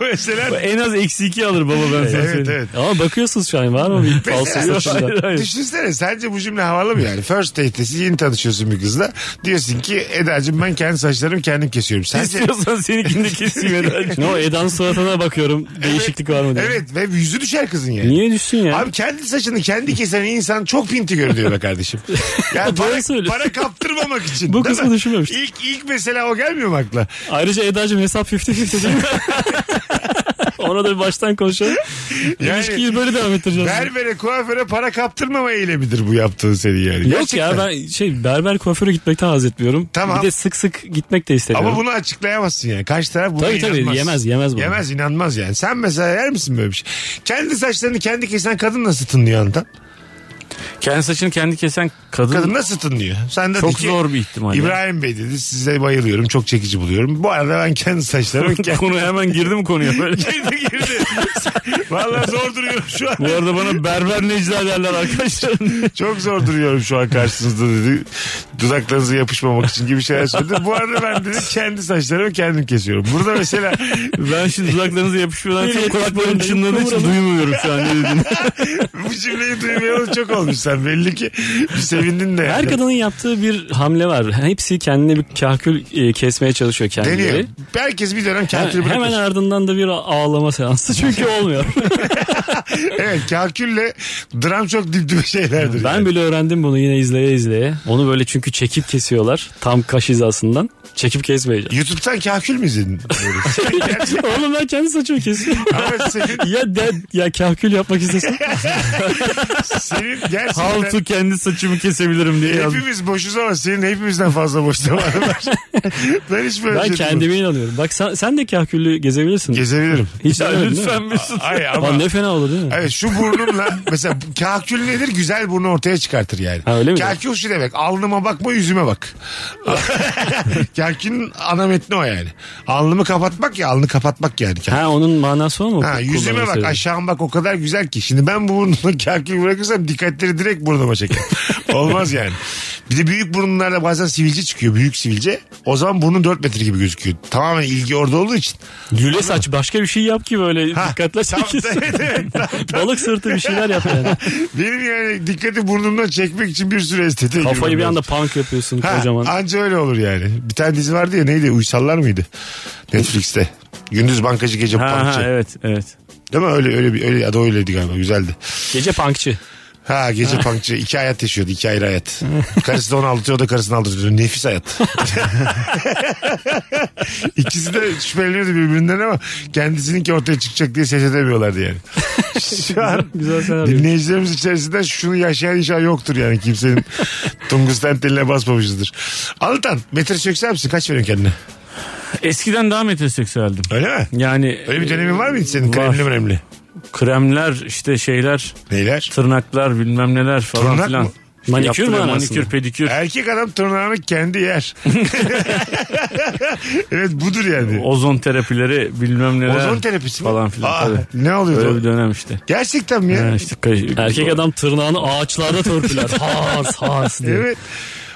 [SPEAKER 1] o mesela
[SPEAKER 3] en az eksi 2 alır baba ben sana
[SPEAKER 1] Evet,
[SPEAKER 3] söyleyeyim.
[SPEAKER 1] evet.
[SPEAKER 3] Ama bakıyorsunuz şu an var mı bir falso saçında?
[SPEAKER 1] Düşünsene sence bu cümle havalı mı yani? First date'te siz yeni tanışıyorsun bir kızla. Diyorsun ki Eda'cığım ben kendi saçlarımı kendim kesiyorum. Sence
[SPEAKER 3] İstiyorsan seninkini de keseyim Eda'cığım. no Eda'nın suratına bakıyorum değişiklik var mı diye.
[SPEAKER 1] Evet ve yüzü düşer kızın yani.
[SPEAKER 3] Niye düşsün ya?
[SPEAKER 1] Abi kendi saçını kendi kesen insan çok pinti görünüyor be kardeşim. Yani
[SPEAKER 3] Doğru
[SPEAKER 1] para,
[SPEAKER 3] söylüyorsun.
[SPEAKER 1] para kaptırmamak için.
[SPEAKER 3] Bu
[SPEAKER 1] değil
[SPEAKER 3] kısmı
[SPEAKER 1] mi?
[SPEAKER 3] düşünmemiştim.
[SPEAKER 1] İlk, ilk mesela o gelmiyor mu akla?
[SPEAKER 3] Ayrıca Eda'cığım hesap 50-50 değil mi? Ona da bir baştan konuşalım.
[SPEAKER 1] Yani-
[SPEAKER 3] İlişkiyi böyle devam ettireceğiz.
[SPEAKER 1] Berbere kuaföre para kaptırmama eylemidir bu yaptığın seni yani.
[SPEAKER 3] Yok
[SPEAKER 1] Gerçekten.
[SPEAKER 3] ya ben şey berber kuaföre gitmekten haz etmiyorum.
[SPEAKER 1] Tamam.
[SPEAKER 3] Bir de sık sık gitmek de istemiyorum.
[SPEAKER 1] Ama bunu açıklayamazsın yani. Karşı taraf buna
[SPEAKER 3] Tabii tabii,
[SPEAKER 1] inanmaz.
[SPEAKER 3] yemez, yemez bunu.
[SPEAKER 1] Yemez inanmaz yani. Sen mesela yer misin böyle bir şey? Kendi saçlarını kendi kesen kadın nasıl tınlıyor anlatan?
[SPEAKER 2] Kendi saçını kendi kesen kadın.
[SPEAKER 1] Kadın nasıl tınlıyor? Sen de
[SPEAKER 2] Çok
[SPEAKER 1] de ki,
[SPEAKER 2] zor bir ihtimal ya.
[SPEAKER 1] İbrahim Bey dedi size bayılıyorum çok çekici buluyorum. Bu arada ben kendi saçlarımı kendi...
[SPEAKER 2] Konu hemen girdi mi konuya böyle?
[SPEAKER 1] girdi girdi. Vallahi zor duruyorum şu an.
[SPEAKER 2] Bu arada bana berber Necla derler arkadaşlar.
[SPEAKER 1] Çok zor duruyorum şu an karşınızda dedi. Dudaklarınıza yapışmamak için gibi şeyler söyledi. Bu arada ben dedi kendi saçlarımı kendim kesiyorum. Burada mesela
[SPEAKER 2] Ben şimdi dudaklarınıza yapışmadan çok
[SPEAKER 3] Evet,
[SPEAKER 2] kulaklarım
[SPEAKER 3] böyle
[SPEAKER 2] çınladığı için
[SPEAKER 3] kıvranıp-
[SPEAKER 2] duymuyorum şu an ne dediğini.
[SPEAKER 1] bu cümleyi duymayalı çok olmuş sen. Belli ki bir sevindin de. yani.
[SPEAKER 3] Her kadının yaptığı bir hamle var. Hepsi kendine bir kahkül e, kesmeye çalışıyor kendileri.
[SPEAKER 1] Deniyor. Herkes bir dönem
[SPEAKER 3] He-
[SPEAKER 1] kakül
[SPEAKER 3] hemen
[SPEAKER 1] bırakır.
[SPEAKER 3] ardından da bir ağlama seansı çünkü olmuyor.
[SPEAKER 1] Evet kakülle dram çok dip dibe şeylerdir.
[SPEAKER 3] ben
[SPEAKER 1] yani.
[SPEAKER 3] bile öğrendim bunu yine izleye izleye. Onu böyle çünkü çekip kesiyorlar tam kaş hizasından. Çekip kesmeyeceğim.
[SPEAKER 1] YouTube'dan kakül mü izledin?
[SPEAKER 3] Oğlum ben kendi saçımı kesiyorum.
[SPEAKER 1] Ama senin,
[SPEAKER 3] ya de, ya kahkül yapmak istesem.
[SPEAKER 1] senin gerçekten...
[SPEAKER 2] How to kendi saçımı kesebilirim diye yazdım.
[SPEAKER 1] Hepimiz boşuz ama senin hepimizden fazla boş zamanın var. ben hiç böyle şey
[SPEAKER 3] ben
[SPEAKER 1] duymadım.
[SPEAKER 3] kendime inanıyorum. Bak sen, sen de kahküllü gezebilirsin.
[SPEAKER 1] Gezebilirim.
[SPEAKER 3] Hiç
[SPEAKER 2] Ya
[SPEAKER 3] denemedin değil mi?
[SPEAKER 2] lütfen Mesut.
[SPEAKER 1] Ay ama...
[SPEAKER 3] Lan ne fena olur değil mi?
[SPEAKER 1] Evet şu burnumla mesela kahkül nedir? Güzel burnu ortaya çıkartır yani.
[SPEAKER 3] Ha, öyle mi?
[SPEAKER 1] Kahkül şu demek. Alnıma bakma yüzüme bak. Kahkülün ana metni o yani. Alnımı kapatmak ya alnı kapatmak yani. kahkül.
[SPEAKER 3] Ha onun manası o mu?
[SPEAKER 1] Ha, yüzüme
[SPEAKER 3] Kullanması.
[SPEAKER 1] bak aşağıma bak o kadar güzel ki. Şimdi ben bu burnuma kahkül bırakırsam dikkatleri direkt burnuma çeker. Olmaz yani. Bir de büyük burunlarda bazen sivilce çıkıyor. Büyük sivilce. O zaman burnun 4 metre gibi gözüküyor. Tamamen ilgi orada olduğu için.
[SPEAKER 3] Lüle saç başka bir şey yap ki böyle
[SPEAKER 1] Ha,
[SPEAKER 3] dikkatle
[SPEAKER 1] tam-
[SPEAKER 3] çekilsin.
[SPEAKER 1] evet, evet, tam-
[SPEAKER 3] Balık sırtı bir şeyler yap yani.
[SPEAKER 1] Benim yani dikkati burnumdan çekmek için bir sürü estetiğe
[SPEAKER 3] Kafayı
[SPEAKER 1] girmem
[SPEAKER 3] bir
[SPEAKER 1] lazım.
[SPEAKER 3] anda punk yapıyorsun
[SPEAKER 1] Ha,
[SPEAKER 3] kocaman.
[SPEAKER 1] anca öyle olur yani. Bir tane dizi vardı ya neydi? Uysallar mıydı? Netflix'te. Gündüz bankacı gece
[SPEAKER 2] Ha,
[SPEAKER 1] bankçı.
[SPEAKER 2] ha, evet evet.
[SPEAKER 1] Değil mi? Öyle öyle bir öyle adı öyleydi galiba. Güzeldi.
[SPEAKER 3] Gece punkçı.
[SPEAKER 1] Ha gece punkçı. iki hayat yaşıyordu. iki ayrı hayat. Karısı da onu aldatıyor o da karısını aldatıyor. Nefis hayat. İkisi de şüpheleniyordu birbirinden ama kendisininki ortaya çıkacak diye ses edemiyorlardı yani. Şu an
[SPEAKER 3] Güzel senaryo.
[SPEAKER 1] Dinleyicilerimiz içerisinden şunu yaşayan inşallah yoktur yani kimsenin tungsten teline basmamışızdır. Altan metroseksüel misin? Kaç veriyorsun kendine?
[SPEAKER 2] Eskiden daha metroseksüeldim.
[SPEAKER 1] Öyle mi?
[SPEAKER 2] Yani
[SPEAKER 1] Öyle bir dönemin var mıydı senin?
[SPEAKER 2] Var.
[SPEAKER 1] Kremli önemli.
[SPEAKER 2] Kremler işte şeyler
[SPEAKER 1] Neyler?
[SPEAKER 2] tırnaklar bilmem neler falan
[SPEAKER 1] Tırnak
[SPEAKER 2] filan.
[SPEAKER 1] mı?
[SPEAKER 3] Manikür mü
[SPEAKER 2] Yaptırıyor,
[SPEAKER 3] manasında?
[SPEAKER 2] Manikür pedikür.
[SPEAKER 1] Erkek adam tırnağını kendi yer. evet budur yani.
[SPEAKER 2] Ozon terapileri bilmem neler.
[SPEAKER 1] Ozon terapisi mi?
[SPEAKER 2] Falan filan
[SPEAKER 1] Aa,
[SPEAKER 2] tabii.
[SPEAKER 1] Ne
[SPEAKER 2] Böyle bir
[SPEAKER 1] oluyordu?
[SPEAKER 2] dönem işte.
[SPEAKER 1] Gerçekten mi ya?
[SPEAKER 2] Ha, işte kay-
[SPEAKER 3] Erkek adam tırnağını ağaçlarda törpüler. Has has diye.
[SPEAKER 1] Evet.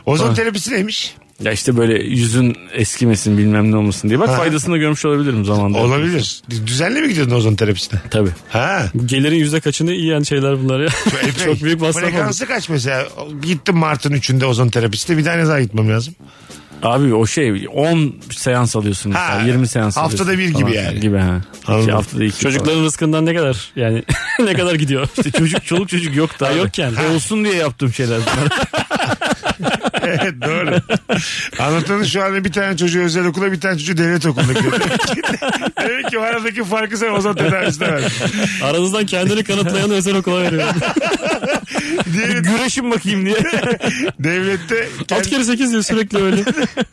[SPEAKER 1] Ozon terapisi neymiş?
[SPEAKER 2] Ya işte böyle yüzün eskimesin bilmem ne olmasın diye. Bak faydasını da görmüş olabilirim zamanında.
[SPEAKER 1] Olabilir. Düzenli mi gidiyordun ozon terapisine?
[SPEAKER 3] Tabii.
[SPEAKER 1] Ha.
[SPEAKER 3] Bu Gelirin yüzde kaçını yiyen şeyler bunlar ya. Çok büyük masraf oldu.
[SPEAKER 1] Frekansı kaç mesela? Gittim Mart'ın 3'ünde ozon terapiste. Bir tane daha gitmem lazım.
[SPEAKER 2] Abi o şey 10 seans alıyorsun mesela.
[SPEAKER 1] Ha,
[SPEAKER 2] 20 seans
[SPEAKER 1] haftada
[SPEAKER 2] alıyorsun
[SPEAKER 1] bir gibi
[SPEAKER 2] falan.
[SPEAKER 1] yani.
[SPEAKER 2] Gibi ha.
[SPEAKER 1] Anladım.
[SPEAKER 2] İki haftada iki. falan.
[SPEAKER 3] Çocukların rızkından ne kadar yani ne kadar gidiyor?
[SPEAKER 2] İşte çocuk çoluk çocuk yok da.
[SPEAKER 3] Ha,
[SPEAKER 2] abi.
[SPEAKER 3] yokken.
[SPEAKER 2] Ha. Olsun diye yaptığım şeyler bunlar.
[SPEAKER 1] Evet doğru. Anlatanın şu anda bir tane çocuğu özel okula bir tane çocuğu devlet okuluna gidiyor. Demek ki aradaki farkı sen ozon tedavisine ver.
[SPEAKER 3] Aranızdan kendini kanıtlayan özel okula veriyor.
[SPEAKER 1] Diğeri
[SPEAKER 2] Güreşin bakayım diye.
[SPEAKER 1] devlette
[SPEAKER 3] Alt
[SPEAKER 1] kendi-
[SPEAKER 3] kere 8 diyor sürekli öyle.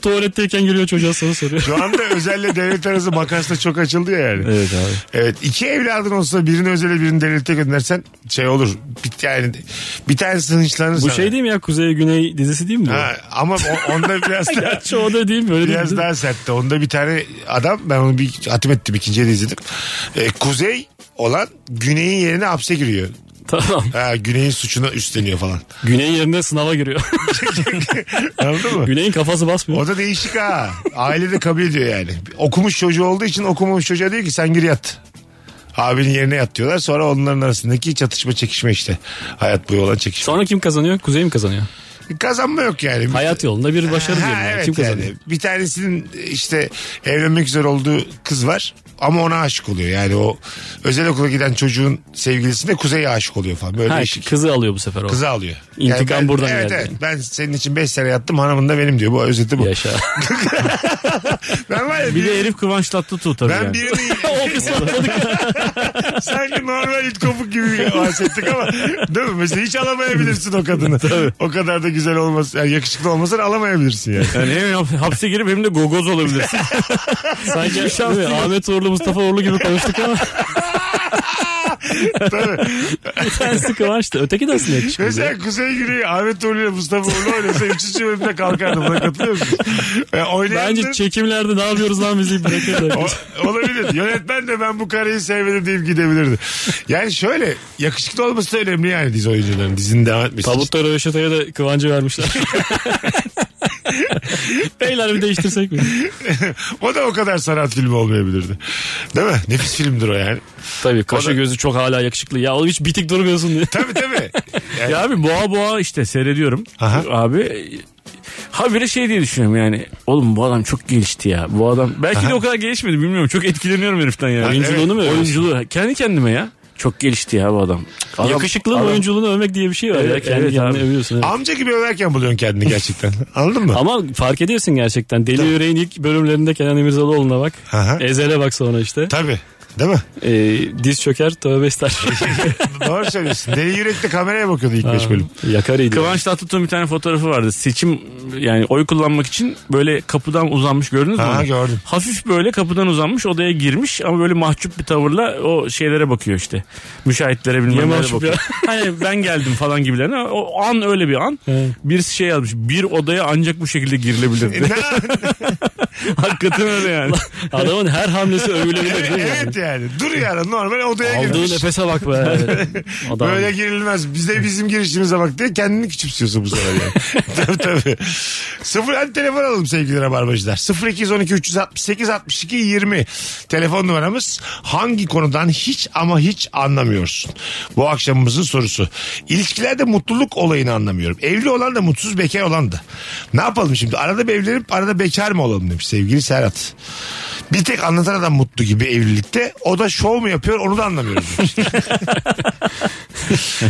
[SPEAKER 3] Tuvaletteyken geliyor çocuğa sana soruyor.
[SPEAKER 1] şu anda özelle devlet arası makasla çok açıldı ya yani. Evet.
[SPEAKER 3] abi.
[SPEAKER 1] iki evladın olsa birini özele birini devlete göndersen şey olur. Bir tane bir tanesi hınçlanır
[SPEAKER 3] Bu
[SPEAKER 1] sana.
[SPEAKER 3] şey değil mi ya Kuzey Güney dizisi değil mi bu?
[SPEAKER 1] Ha, ama o- onda biraz daha,
[SPEAKER 3] Gerçi o da değil mi? Öyle
[SPEAKER 1] biraz
[SPEAKER 3] değil.
[SPEAKER 1] daha sertti. Onda bir tane adam ben onu bir atim ettim ikinci de izledim. Ee, kuzey olan güneyin yerine hapse giriyor.
[SPEAKER 3] Tamam.
[SPEAKER 1] Ha, güneyin suçuna üstleniyor falan.
[SPEAKER 3] Güney yerine sınava giriyor.
[SPEAKER 1] Anladın mı?
[SPEAKER 3] Güney'in kafası basmıyor.
[SPEAKER 1] O da değişik ha. Aile de kabul ediyor yani. Okumuş çocuğu olduğu için okumamış çocuğa diyor ki sen gir yat. Abinin yerine yat diyorlar. Sonra onların arasındaki çatışma çekişme işte. Hayat boyu olan çekişme.
[SPEAKER 3] Sonra kim kazanıyor? Kuzey mi kazanıyor?
[SPEAKER 1] Kazanma yok yani.
[SPEAKER 3] Hayat yolunda bir başarı
[SPEAKER 1] Ha,
[SPEAKER 3] diyelim. yani.
[SPEAKER 1] evet
[SPEAKER 3] kim kazanıyor?
[SPEAKER 1] yani. Bir tanesinin işte evlenmek üzere olduğu kız var ama ona aşık oluyor. Yani o özel okula giden çocuğun sevgilisine kuzeye aşık oluyor falan. Böyle
[SPEAKER 3] Ha,
[SPEAKER 1] değişik.
[SPEAKER 3] kızı alıyor bu sefer o.
[SPEAKER 1] Kızı alıyor.
[SPEAKER 3] İntikam
[SPEAKER 1] ben-
[SPEAKER 3] buradan
[SPEAKER 1] evet,
[SPEAKER 3] geldi
[SPEAKER 1] Evet,
[SPEAKER 3] yani.
[SPEAKER 1] ben senin için 5 sene yattım hanımın da benim diyor. Bu özeti bu.
[SPEAKER 3] Yaşa.
[SPEAKER 1] Ben var ya
[SPEAKER 2] Bir
[SPEAKER 1] bir-
[SPEAKER 2] de herif Kıvanç Tatlıtuğ tabii
[SPEAKER 1] ben
[SPEAKER 2] yani.
[SPEAKER 1] birini
[SPEAKER 3] o kısmı atladık.
[SPEAKER 1] sanki normal it kopuk gibi bahsettik ama değil mi? Mesela hiç alamayabilirsin o kadını. O kadar da güzel olmasa, yani yakışıklı olmasan alamayabilirsin yani.
[SPEAKER 2] Yani hem hap- hapse girip hem de gogoz olabilirsin.
[SPEAKER 3] Sanki değil mi? Ahmet Uğurlu, Mustafa Uğurlu gibi konuştuk ama. bir tanesi Kıvanç'tı. Öteki de aslında yakışıklı.
[SPEAKER 1] Mesela Kuzey Güney Ahmet Uğurlu ile Mustafa Uğurlu oynasa 3. bölümde kalkardı. Buna katılıyor musunuz? E, oynayan
[SPEAKER 3] Bence
[SPEAKER 1] da-
[SPEAKER 3] çekimlerde ne yapıyoruz lan bizi bırakıyorlar.
[SPEAKER 1] o- olabilir. Yönetmen de ben bu kareyi sevmedim deyip gidebilirdi. Yani şöyle yakışıklı olması da önemli yani dizi oyuncuların dizinin devam etmesi. için.
[SPEAKER 3] Tabutta Röveşata'ya da Kıvancı vermişler. Beyler bir değiştirsek mi?
[SPEAKER 1] o da o kadar sanat filmi olmayabilirdi. Değil mi? Nefis filmdir o yani.
[SPEAKER 3] Tabii kaşı
[SPEAKER 1] da-
[SPEAKER 3] gözü çok hala yakışıklı. Ya oğlum hiç bitik durmuyorsun diye.
[SPEAKER 1] Tabii tabii. Yani-
[SPEAKER 2] ya abi boğa boğa işte seyrediyorum.
[SPEAKER 1] Aha.
[SPEAKER 2] Abi ha böyle şey diye düşünüyorum yani. Oğlum bu adam çok gelişti ya. Bu adam belki de o kadar gelişmedi bilmiyorum. Çok etkileniyorum heriften yani.
[SPEAKER 3] Oyunculuğunu mu övüyorsun?
[SPEAKER 2] Oyunculuğu kendi kendime ya. Çok gelişti ya bu adam. adam
[SPEAKER 3] Yakışıklı
[SPEAKER 2] adam-
[SPEAKER 3] oyunculuğunu övmek diye bir şey var. ya.
[SPEAKER 2] Evet,
[SPEAKER 3] Kendi
[SPEAKER 2] evet
[SPEAKER 3] kendini
[SPEAKER 2] abi.
[SPEAKER 3] övüyorsun. evet.
[SPEAKER 1] Amca gibi överken buluyorsun kendini gerçekten. Anladın mı?
[SPEAKER 3] Ama fark ediyorsun gerçekten. Deli Yüreğin ilk bölümlerinde Kenan İmirzalıoğlu'na bak.
[SPEAKER 1] Aha.
[SPEAKER 3] Ezel'e bak sonra işte.
[SPEAKER 1] Tabii. Değil mi?
[SPEAKER 3] Ee, diz çöker tövbe ister.
[SPEAKER 1] Doğru söylüyorsun. Deli yürekli kameraya bakıyordu ilk 5 bölüm.
[SPEAKER 3] Yakar iyi.
[SPEAKER 2] Kıvanç Tatlıtuğ'un bir tane fotoğrafı vardı. Seçim yani oy kullanmak için böyle kapıdan uzanmış gördünüz mü?
[SPEAKER 1] Aha,
[SPEAKER 2] onu?
[SPEAKER 1] gördüm.
[SPEAKER 2] Hafif böyle kapıdan uzanmış odaya girmiş ama böyle mahcup bir tavırla o şeylere bakıyor işte. Müşahitlere
[SPEAKER 3] Niye
[SPEAKER 2] bilmem nelere
[SPEAKER 3] mahcup
[SPEAKER 2] bakıyor. hani ben geldim falan gibilerine. O an öyle bir an. Birisi şey yazmış. Bir odaya ancak bu şekilde
[SPEAKER 1] E,
[SPEAKER 2] girilebilir.
[SPEAKER 1] ne-
[SPEAKER 2] Hakikaten öyle yani.
[SPEAKER 3] Adamın her hamlesi övülebilir değil mi?
[SPEAKER 1] evet yani. Dur yani normal odaya
[SPEAKER 3] Aldığı
[SPEAKER 1] girmiş.
[SPEAKER 3] nefese bak be. Adam.
[SPEAKER 1] Böyle girilmez. Bize bizim girişimize bak diye kendini küçümsüyorsun bu sefer yani. tabii tabii. Sıfır, hadi telefon alalım sevgili Rabarbacılar. 0212 368 62 20 telefon numaramız. Hangi konudan hiç ama hiç anlamıyorsun? Bu akşamımızın sorusu. İlişkilerde mutluluk olayını anlamıyorum. Evli olan da mutsuz, bekar olan da. Ne yapalım şimdi? Arada bir evlenip arada bekar mı olalım demiş sevgili Serhat. Bir tek anlatan adam mutlu gibi evlilikte. O da şov mu yapıyor onu da anlamıyorum. demiş.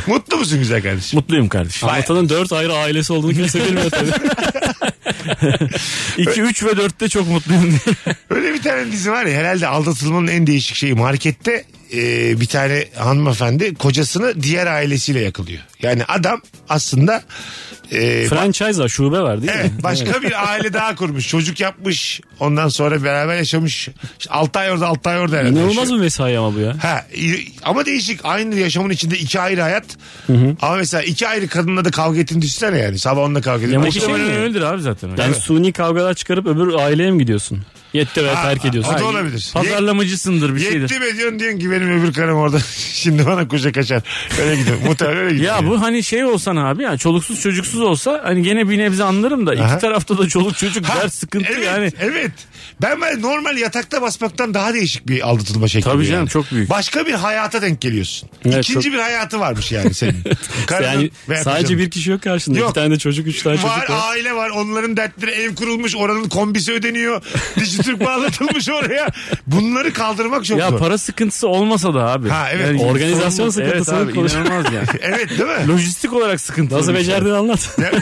[SPEAKER 1] mutlu musun güzel kardeşim?
[SPEAKER 2] Mutluyum kardeşim.
[SPEAKER 3] Anlatanın dört ayrı ailesi olduğunu kimse bilmiyor tabii.
[SPEAKER 2] 2, 3 ve 4'te çok mutluyum diye.
[SPEAKER 1] Öyle bir tane dizi var ya herhalde aldatılmanın en değişik şeyi markette e, bir tane hanımefendi kocasını diğer ailesiyle yakalıyor. Yani adam aslında e,
[SPEAKER 3] Franchise var şube var değil
[SPEAKER 1] evet,
[SPEAKER 3] mi?
[SPEAKER 1] başka bir aile daha kurmuş. Çocuk yapmış. Ondan sonra beraber yaşamış. 6 ay orada 6 ay orada herhalde.
[SPEAKER 3] İnanılmaz
[SPEAKER 1] yaşıyor.
[SPEAKER 3] bir mesai ama bu ya.
[SPEAKER 1] Ha, i- ama değişik. Aynı yaşamın içinde iki ayrı hayat. Ama mesela iki ayrı kadınla da kavga ettiğini düşünsene yani. Sabah onunla kavga
[SPEAKER 3] Ya
[SPEAKER 1] ediyor.
[SPEAKER 3] bu
[SPEAKER 1] Akşam-
[SPEAKER 3] şey mi?
[SPEAKER 2] Muhtemelen öyledir abi zaten.
[SPEAKER 3] Yani suni kavgalar çıkarıp öbür aileye mi gidiyorsun? Yetti ve
[SPEAKER 1] Ha,
[SPEAKER 3] terk ediyorsun.
[SPEAKER 1] o da
[SPEAKER 3] Ay,
[SPEAKER 1] olabilir. Yet-
[SPEAKER 2] Pazarlamacısındır bir şeydir.
[SPEAKER 1] Yetti mi diyorsun diyorsun ki benim öbür karım orada. Şimdi bana kucak açar. Öyle gidiyor. Muhtemelen öyle gidiyor.
[SPEAKER 2] Ya bu hani şey olsan abi ya çoluksuz çocuksuz olsa hani gene bir nebze anlarım da
[SPEAKER 1] Aha.
[SPEAKER 2] iki tarafta da çoluk çocuk
[SPEAKER 1] Ha,
[SPEAKER 2] dert sıkıntı
[SPEAKER 1] evet,
[SPEAKER 2] yani.
[SPEAKER 1] Evet. Ben böyle normal yatakta basmaktan daha değişik bir aldatılma şekli.
[SPEAKER 2] Tabii
[SPEAKER 1] bu
[SPEAKER 2] canım,
[SPEAKER 1] yani.
[SPEAKER 2] çok büyük.
[SPEAKER 1] Başka bir hayata denk geliyorsun.
[SPEAKER 3] Evet,
[SPEAKER 1] İkinci bir hayatı varmış yani senin. Karının
[SPEAKER 3] Yani
[SPEAKER 1] veya
[SPEAKER 3] sadece
[SPEAKER 1] kocanın.
[SPEAKER 3] bir kişi yok karşında.
[SPEAKER 1] Yok.
[SPEAKER 3] İki tane de çocuk, üç tane
[SPEAKER 1] var,
[SPEAKER 3] çocuk var.
[SPEAKER 1] aile var onların dertleri ev kurulmuş oranın kombisi ödeniyor Hepsi Türk bağlatılmış oraya. Bunları kaldırmak çok
[SPEAKER 2] Ya
[SPEAKER 1] zor.
[SPEAKER 2] para sıkıntısı olmasa da abi.
[SPEAKER 1] Ha, evet.
[SPEAKER 3] Organizasyon
[SPEAKER 2] sorumlu-
[SPEAKER 3] sıkıntısını
[SPEAKER 2] evet abi,
[SPEAKER 3] konuşalım.
[SPEAKER 2] inanılmaz yani.
[SPEAKER 1] Evet değil mi?
[SPEAKER 2] Lojistik olarak sıkıntı.
[SPEAKER 3] Nasıl becerdin anlat.
[SPEAKER 1] ya, ya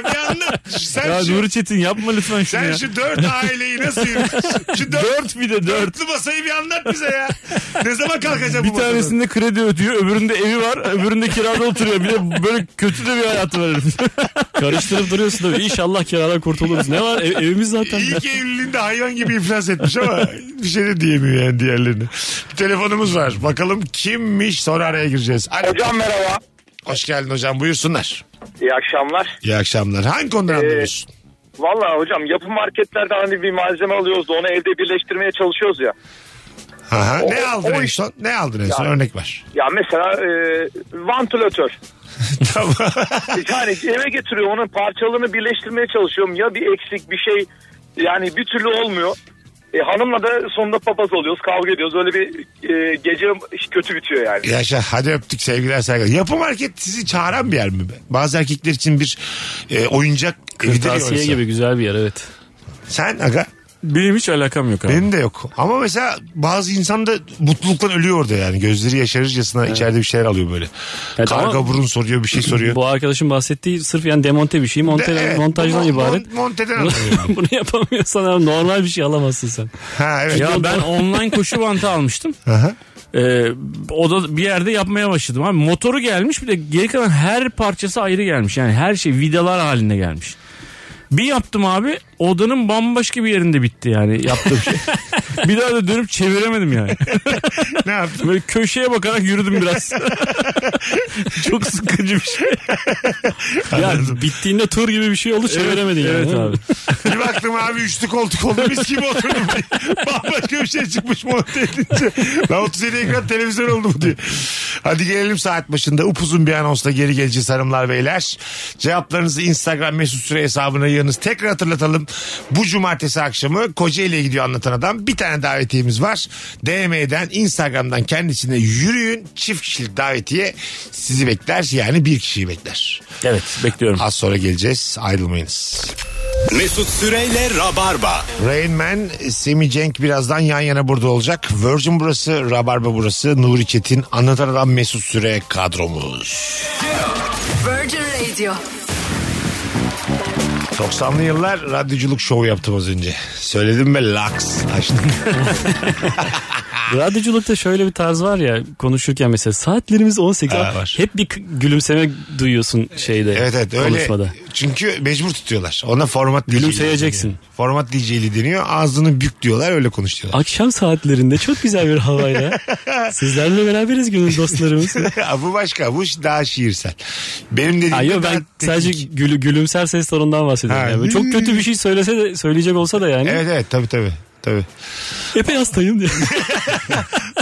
[SPEAKER 1] bir anlat. Sen
[SPEAKER 2] Ya
[SPEAKER 1] şu,
[SPEAKER 2] Nuri Çetin yapma lütfen şunu
[SPEAKER 1] sen
[SPEAKER 2] ya.
[SPEAKER 1] şu dört aileyi nasıl yürütüyorsun? Şu dört,
[SPEAKER 2] Dört bir de dört.
[SPEAKER 1] dörtlü masayı bir anlat bize ya. Ne zaman kalkacağım
[SPEAKER 2] Bir
[SPEAKER 1] bu masadan?
[SPEAKER 2] tanesinde kredi ödüyor, öbüründe evi var, öbüründe kirada oturuyor. Bir de böyle kötü de bir hayatı var herifin.
[SPEAKER 3] Karıştırıp duruyorsun da inşallah kiradan kurtuluruz. Ne var Ev- evimiz zaten.
[SPEAKER 1] İyi ki evliliğinde hayvan gibi iflas etmiş ama bir şey de diyemiyor yani diğerlerine. Bir telefonumuz var. Bakalım kimmiş sonra araya gireceğiz. Alo.
[SPEAKER 6] Hocam merhaba.
[SPEAKER 1] Hoş geldin hocam buyursunlar.
[SPEAKER 6] İyi akşamlar. Ee,
[SPEAKER 1] İyi akşamlar. Hangi konudan anlıyorsun?
[SPEAKER 6] Valla hocam yapı marketlerden hani bir malzeme alıyoruz da onu evde birleştirmeye çalışıyoruz ya.
[SPEAKER 1] Aha,
[SPEAKER 6] o-
[SPEAKER 1] ne aldın
[SPEAKER 6] o
[SPEAKER 1] en
[SPEAKER 6] iş-
[SPEAKER 1] son? Ne aldın en son?
[SPEAKER 6] Yani-
[SPEAKER 1] Örnek var.
[SPEAKER 6] Ya mesela e, vantilatör.
[SPEAKER 1] tamam.
[SPEAKER 6] Yani eve getiriyor onun parçalarını birleştirmeye çalışıyorum. Ya bir eksik bir şey yani bir türlü olmuyor. E, hanımla da sonunda papaz oluyoruz kavga ediyoruz. Öyle bir e, gece kötü bitiyor yani.
[SPEAKER 1] Yaşa hadi öptük sevgiler saygılar. Yapı market sizi çağıran bir yer mi? be? Bazı erkekler için bir e, oyuncak evi de
[SPEAKER 3] Kırtasiye
[SPEAKER 1] orası.
[SPEAKER 3] gibi güzel bir yer evet.
[SPEAKER 1] Sen aga
[SPEAKER 2] Benim hiç alakam yok abi.
[SPEAKER 1] benim de yok. Ama mesela bazı insan da mutluluktan ölüyor orada yani. Gözleri yaşarırcasına içeride bir şeyler alıyor böyle.
[SPEAKER 3] Evet,
[SPEAKER 1] Karga
[SPEAKER 3] ama-
[SPEAKER 1] burun soruyor bir şey soruyor.
[SPEAKER 3] Bu arkadaşın bahsettiği sırf yani demonte bir şey. Monte,
[SPEAKER 1] De- evet,
[SPEAKER 3] montajdan
[SPEAKER 1] mon-
[SPEAKER 3] ibaret.
[SPEAKER 1] mon- monteden anlıyorum.
[SPEAKER 3] Bunu yapamıyorsan abi normal bir şey alamazsın sen.
[SPEAKER 1] ha evet.
[SPEAKER 2] Ya ben online koşu bantı almıştım.
[SPEAKER 1] Aha.
[SPEAKER 2] Ee, o da bir yerde yapmaya başladım abi. Motoru gelmiş bir de geri kalan her parçası ayrı gelmiş. Yani her şey vidalar haline gelmiş. Bir yaptım abi odanın bambaşka bir yerinde bitti yani yaptığım şey. bir daha da dönüp çeviremedim yani.
[SPEAKER 1] Ne yaptın?
[SPEAKER 2] Böyle köşeye bakarak yürüdüm biraz. Çok sıkıcı bir şey.
[SPEAKER 3] Ya bittiğinde tur gibi bir şey oldu çeviremedin yani.
[SPEAKER 2] Evet
[SPEAKER 3] değil mi?
[SPEAKER 2] abi.
[SPEAKER 1] Bir baktım abi üçlü koltuk oldu mis gibi oturdum. Bambaşka bir şey çıkmış monte edince. Lan 37 ekran televizyon oldu bu diye. Hadi gelelim saat başında upuzun bir anonsla geri geleceğiz hanımlar beyler. Cevaplarınızı Instagram mesut süre hesabına yığınız. Tekrar hatırlatalım. Bu cumartesi akşamı Kocaeli'ye gidiyor anlatan adam. Bir tane davetiyemiz var. DM'den Instagram'dan kendisine yürüyün çift kişilik davetiye sizi bekler. Yani bir kişiyi bekler.
[SPEAKER 2] Evet bekliyorum.
[SPEAKER 1] Az sonra geleceğiz ayrılmayınız.
[SPEAKER 5] Mesut Süreyle Rabarba.
[SPEAKER 1] Rain Man, Semi Cenk birazdan yan yana burada olacak. Virgin burası, Rabarba burası, Nuri Çetin, Anlatan Adam Mesut Süre kadromuz.
[SPEAKER 7] Virgin Radio.
[SPEAKER 1] 90'lı yıllar radyoculuk şovu yaptım az önce. Söyledim mi? Laks açtım.
[SPEAKER 3] Radyoculukta şöyle bir tarz var ya konuşurken mesela saatlerimiz 18.
[SPEAKER 1] Ha,
[SPEAKER 3] Abi
[SPEAKER 1] var.
[SPEAKER 3] Hep bir k- gülümseme duyuyorsun şeyde
[SPEAKER 1] evet evet öyle.
[SPEAKER 3] konuşmada.
[SPEAKER 1] Çünkü mecbur tutuyorlar. Ona format DJ'li
[SPEAKER 3] Gülümseyeceksin.
[SPEAKER 1] deniyor. Format DJ'li deniyor. Ağzını bük diyorlar öyle konuş diyorlar.
[SPEAKER 3] Akşam saatlerinde çok güzel bir havayla sizlerle beraberiz gönül dostlarımız.
[SPEAKER 1] bu başka. Bu daha şiirsel. Benim dediğim
[SPEAKER 3] Ha, yo,
[SPEAKER 1] daha
[SPEAKER 3] ben
[SPEAKER 1] teknik.
[SPEAKER 3] sadece gülü, gülümser ses tonundan bahsediyorum.
[SPEAKER 1] Ha,
[SPEAKER 3] yani. Böyle
[SPEAKER 1] hmm.
[SPEAKER 3] Çok kötü bir şey söylese de söyleyecek olsa da yani
[SPEAKER 1] Evet evet tabii tabii. Tabii.
[SPEAKER 3] epey hastayım diye.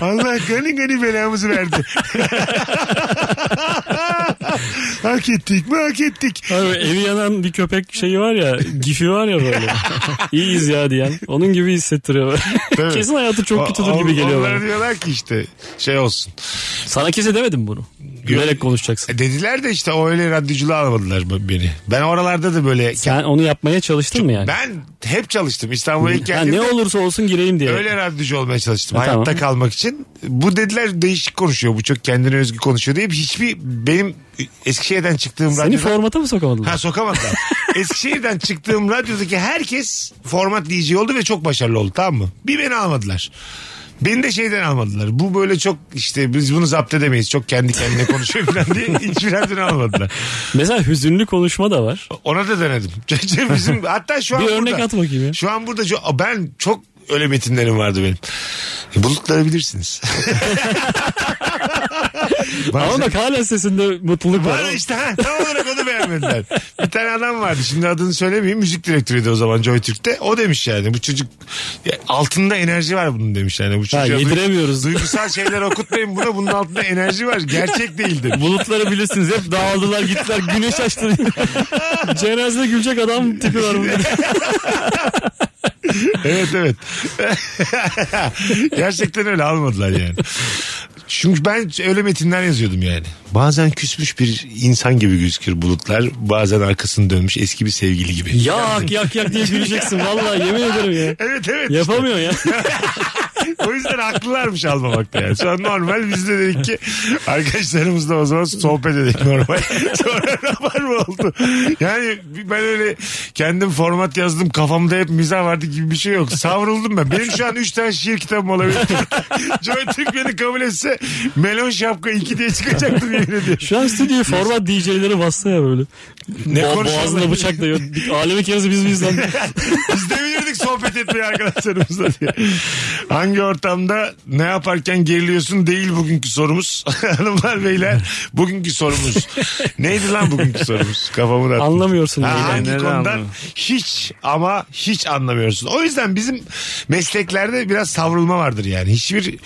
[SPEAKER 1] Allah gani gani belamızı verdi. hak ettik mi hak ettik.
[SPEAKER 3] Abi evi yanan bir köpek şeyi var ya gifi var ya böyle. İyiyiz ya diyen. Onun gibi hissettiriyor.
[SPEAKER 1] Tabii.
[SPEAKER 3] Kesin hayatı çok kötüdür
[SPEAKER 1] O-
[SPEAKER 3] gibi geliyor
[SPEAKER 1] Onlara
[SPEAKER 3] bana.
[SPEAKER 1] diyorlar ki işte şey olsun.
[SPEAKER 3] Sana kimse demedi mi bunu? Gülerek konuşacaksın.
[SPEAKER 1] E Dediler de işte o öyle radyoculuğa alamadılar b- beni. Ben oralarda da böyle...
[SPEAKER 3] Sen onu yapmaya çalıştın mı yani?
[SPEAKER 1] Ben hep çalıştım. İstanbul'a ilk
[SPEAKER 3] Ha,
[SPEAKER 1] geldiğimde
[SPEAKER 3] ne olursa olsun gireyim diye.
[SPEAKER 1] öyle radyocu olmaya çalıştım.
[SPEAKER 3] Ha,
[SPEAKER 1] hayatta
[SPEAKER 3] tamam.
[SPEAKER 1] kalmak için. Bu dediler değişik konuşuyor. Bu çok kendine özgü konuşuyor deyip hiçbir benim Eskişehir'den çıktığım
[SPEAKER 3] Seni formata mı sokamadılar?
[SPEAKER 1] Ha sokamadılar. Eskişehir'den çıktığım radyodaki herkes format DJ oldu ve çok başarılı oldu tamam mı? Bir beni almadılar. Beni de şeyden almadılar. Bu böyle çok işte biz bunu zapt edemeyiz. Çok kendi kendine konuşuyor falan diye hiçbir yerden almadılar.
[SPEAKER 3] Mesela hüzünlü konuşma da var.
[SPEAKER 1] Ona da denedim. Bizim, hatta şu an
[SPEAKER 3] Bir örnek
[SPEAKER 1] burada,
[SPEAKER 3] at bakayım ya.
[SPEAKER 1] Şu an burada şu- ben çok öyle metinlerim vardı benim. E, bulutları bilirsiniz. Bazen-
[SPEAKER 3] Ama bak hala sesinde mutluluk var.
[SPEAKER 1] Var işte ha, tam olarak onu beğenmediler. Bir tane adam vardı şimdi adını söylemeyeyim müzik direktörüydü o zaman Joy Türk'te. O demiş yani bu çocuk ya, altında enerji var bunun demiş yani. Bu çocuğa
[SPEAKER 3] Ha,
[SPEAKER 1] duy-
[SPEAKER 3] yediremiyoruz.
[SPEAKER 1] Duygusal şeyler okutmayın buna bunun altında enerji var. Gerçek değildir.
[SPEAKER 3] Bulutları bilirsiniz hep dağıldılar gittiler güneş açtı. Cenazede gülecek adam tipi var burada.
[SPEAKER 1] evet evet. Gerçekten öyle almadılar yani. Çünkü ben öyle metinler yazıyordum yani. Bazen küsmüş bir insan gibi gözükür bulutlar. Bazen arkasını dönmüş eski bir sevgili gibi.
[SPEAKER 3] Yak yak yak diye güleceksin vallahi yemin ederim ya.
[SPEAKER 1] Evet evet.
[SPEAKER 3] Yapamıyor ya.
[SPEAKER 1] O yüzden haklılarmış almamakta yani. Şu an normal biz de dedik ki arkadaşlarımızla o zaman sohbet edelim normal. Sonra rabar mı oldu? Yani ben öyle kendim format yazdım kafamda hep mizah vardı gibi bir şey yok. Savruldum ben. Benim şu an 3 tane şiir kitabım olabilir. Joy Türk beni kabul etse melon şapka 2 diye çıkacaktım yemin ediyorum.
[SPEAKER 3] Şu an stüdyo format DJ'leri bastı ya böyle.
[SPEAKER 1] Ne
[SPEAKER 3] Bo-
[SPEAKER 1] konuşuyorlar?
[SPEAKER 3] boğazına bıçak dayıyor. Alemi keresi biz biz lan.
[SPEAKER 1] Biz de bilirdik sohbet etmeyi arkadaşlarımızla diye. Hangi ortamda ne yaparken geriliyorsun değil bugünkü sorumuz. Hanımlar beyler bugünkü sorumuz. Neydi lan bugünkü sorumuz? Kafamı da
[SPEAKER 3] Anlamıyorsun
[SPEAKER 1] Ha,
[SPEAKER 3] yani.
[SPEAKER 1] hangi
[SPEAKER 3] Nereden
[SPEAKER 1] konudan
[SPEAKER 3] anlamıyorsun?
[SPEAKER 1] hiç ama hiç anlamıyorsun. O yüzden bizim mesleklerde biraz savrulma vardır yani. Hiçbir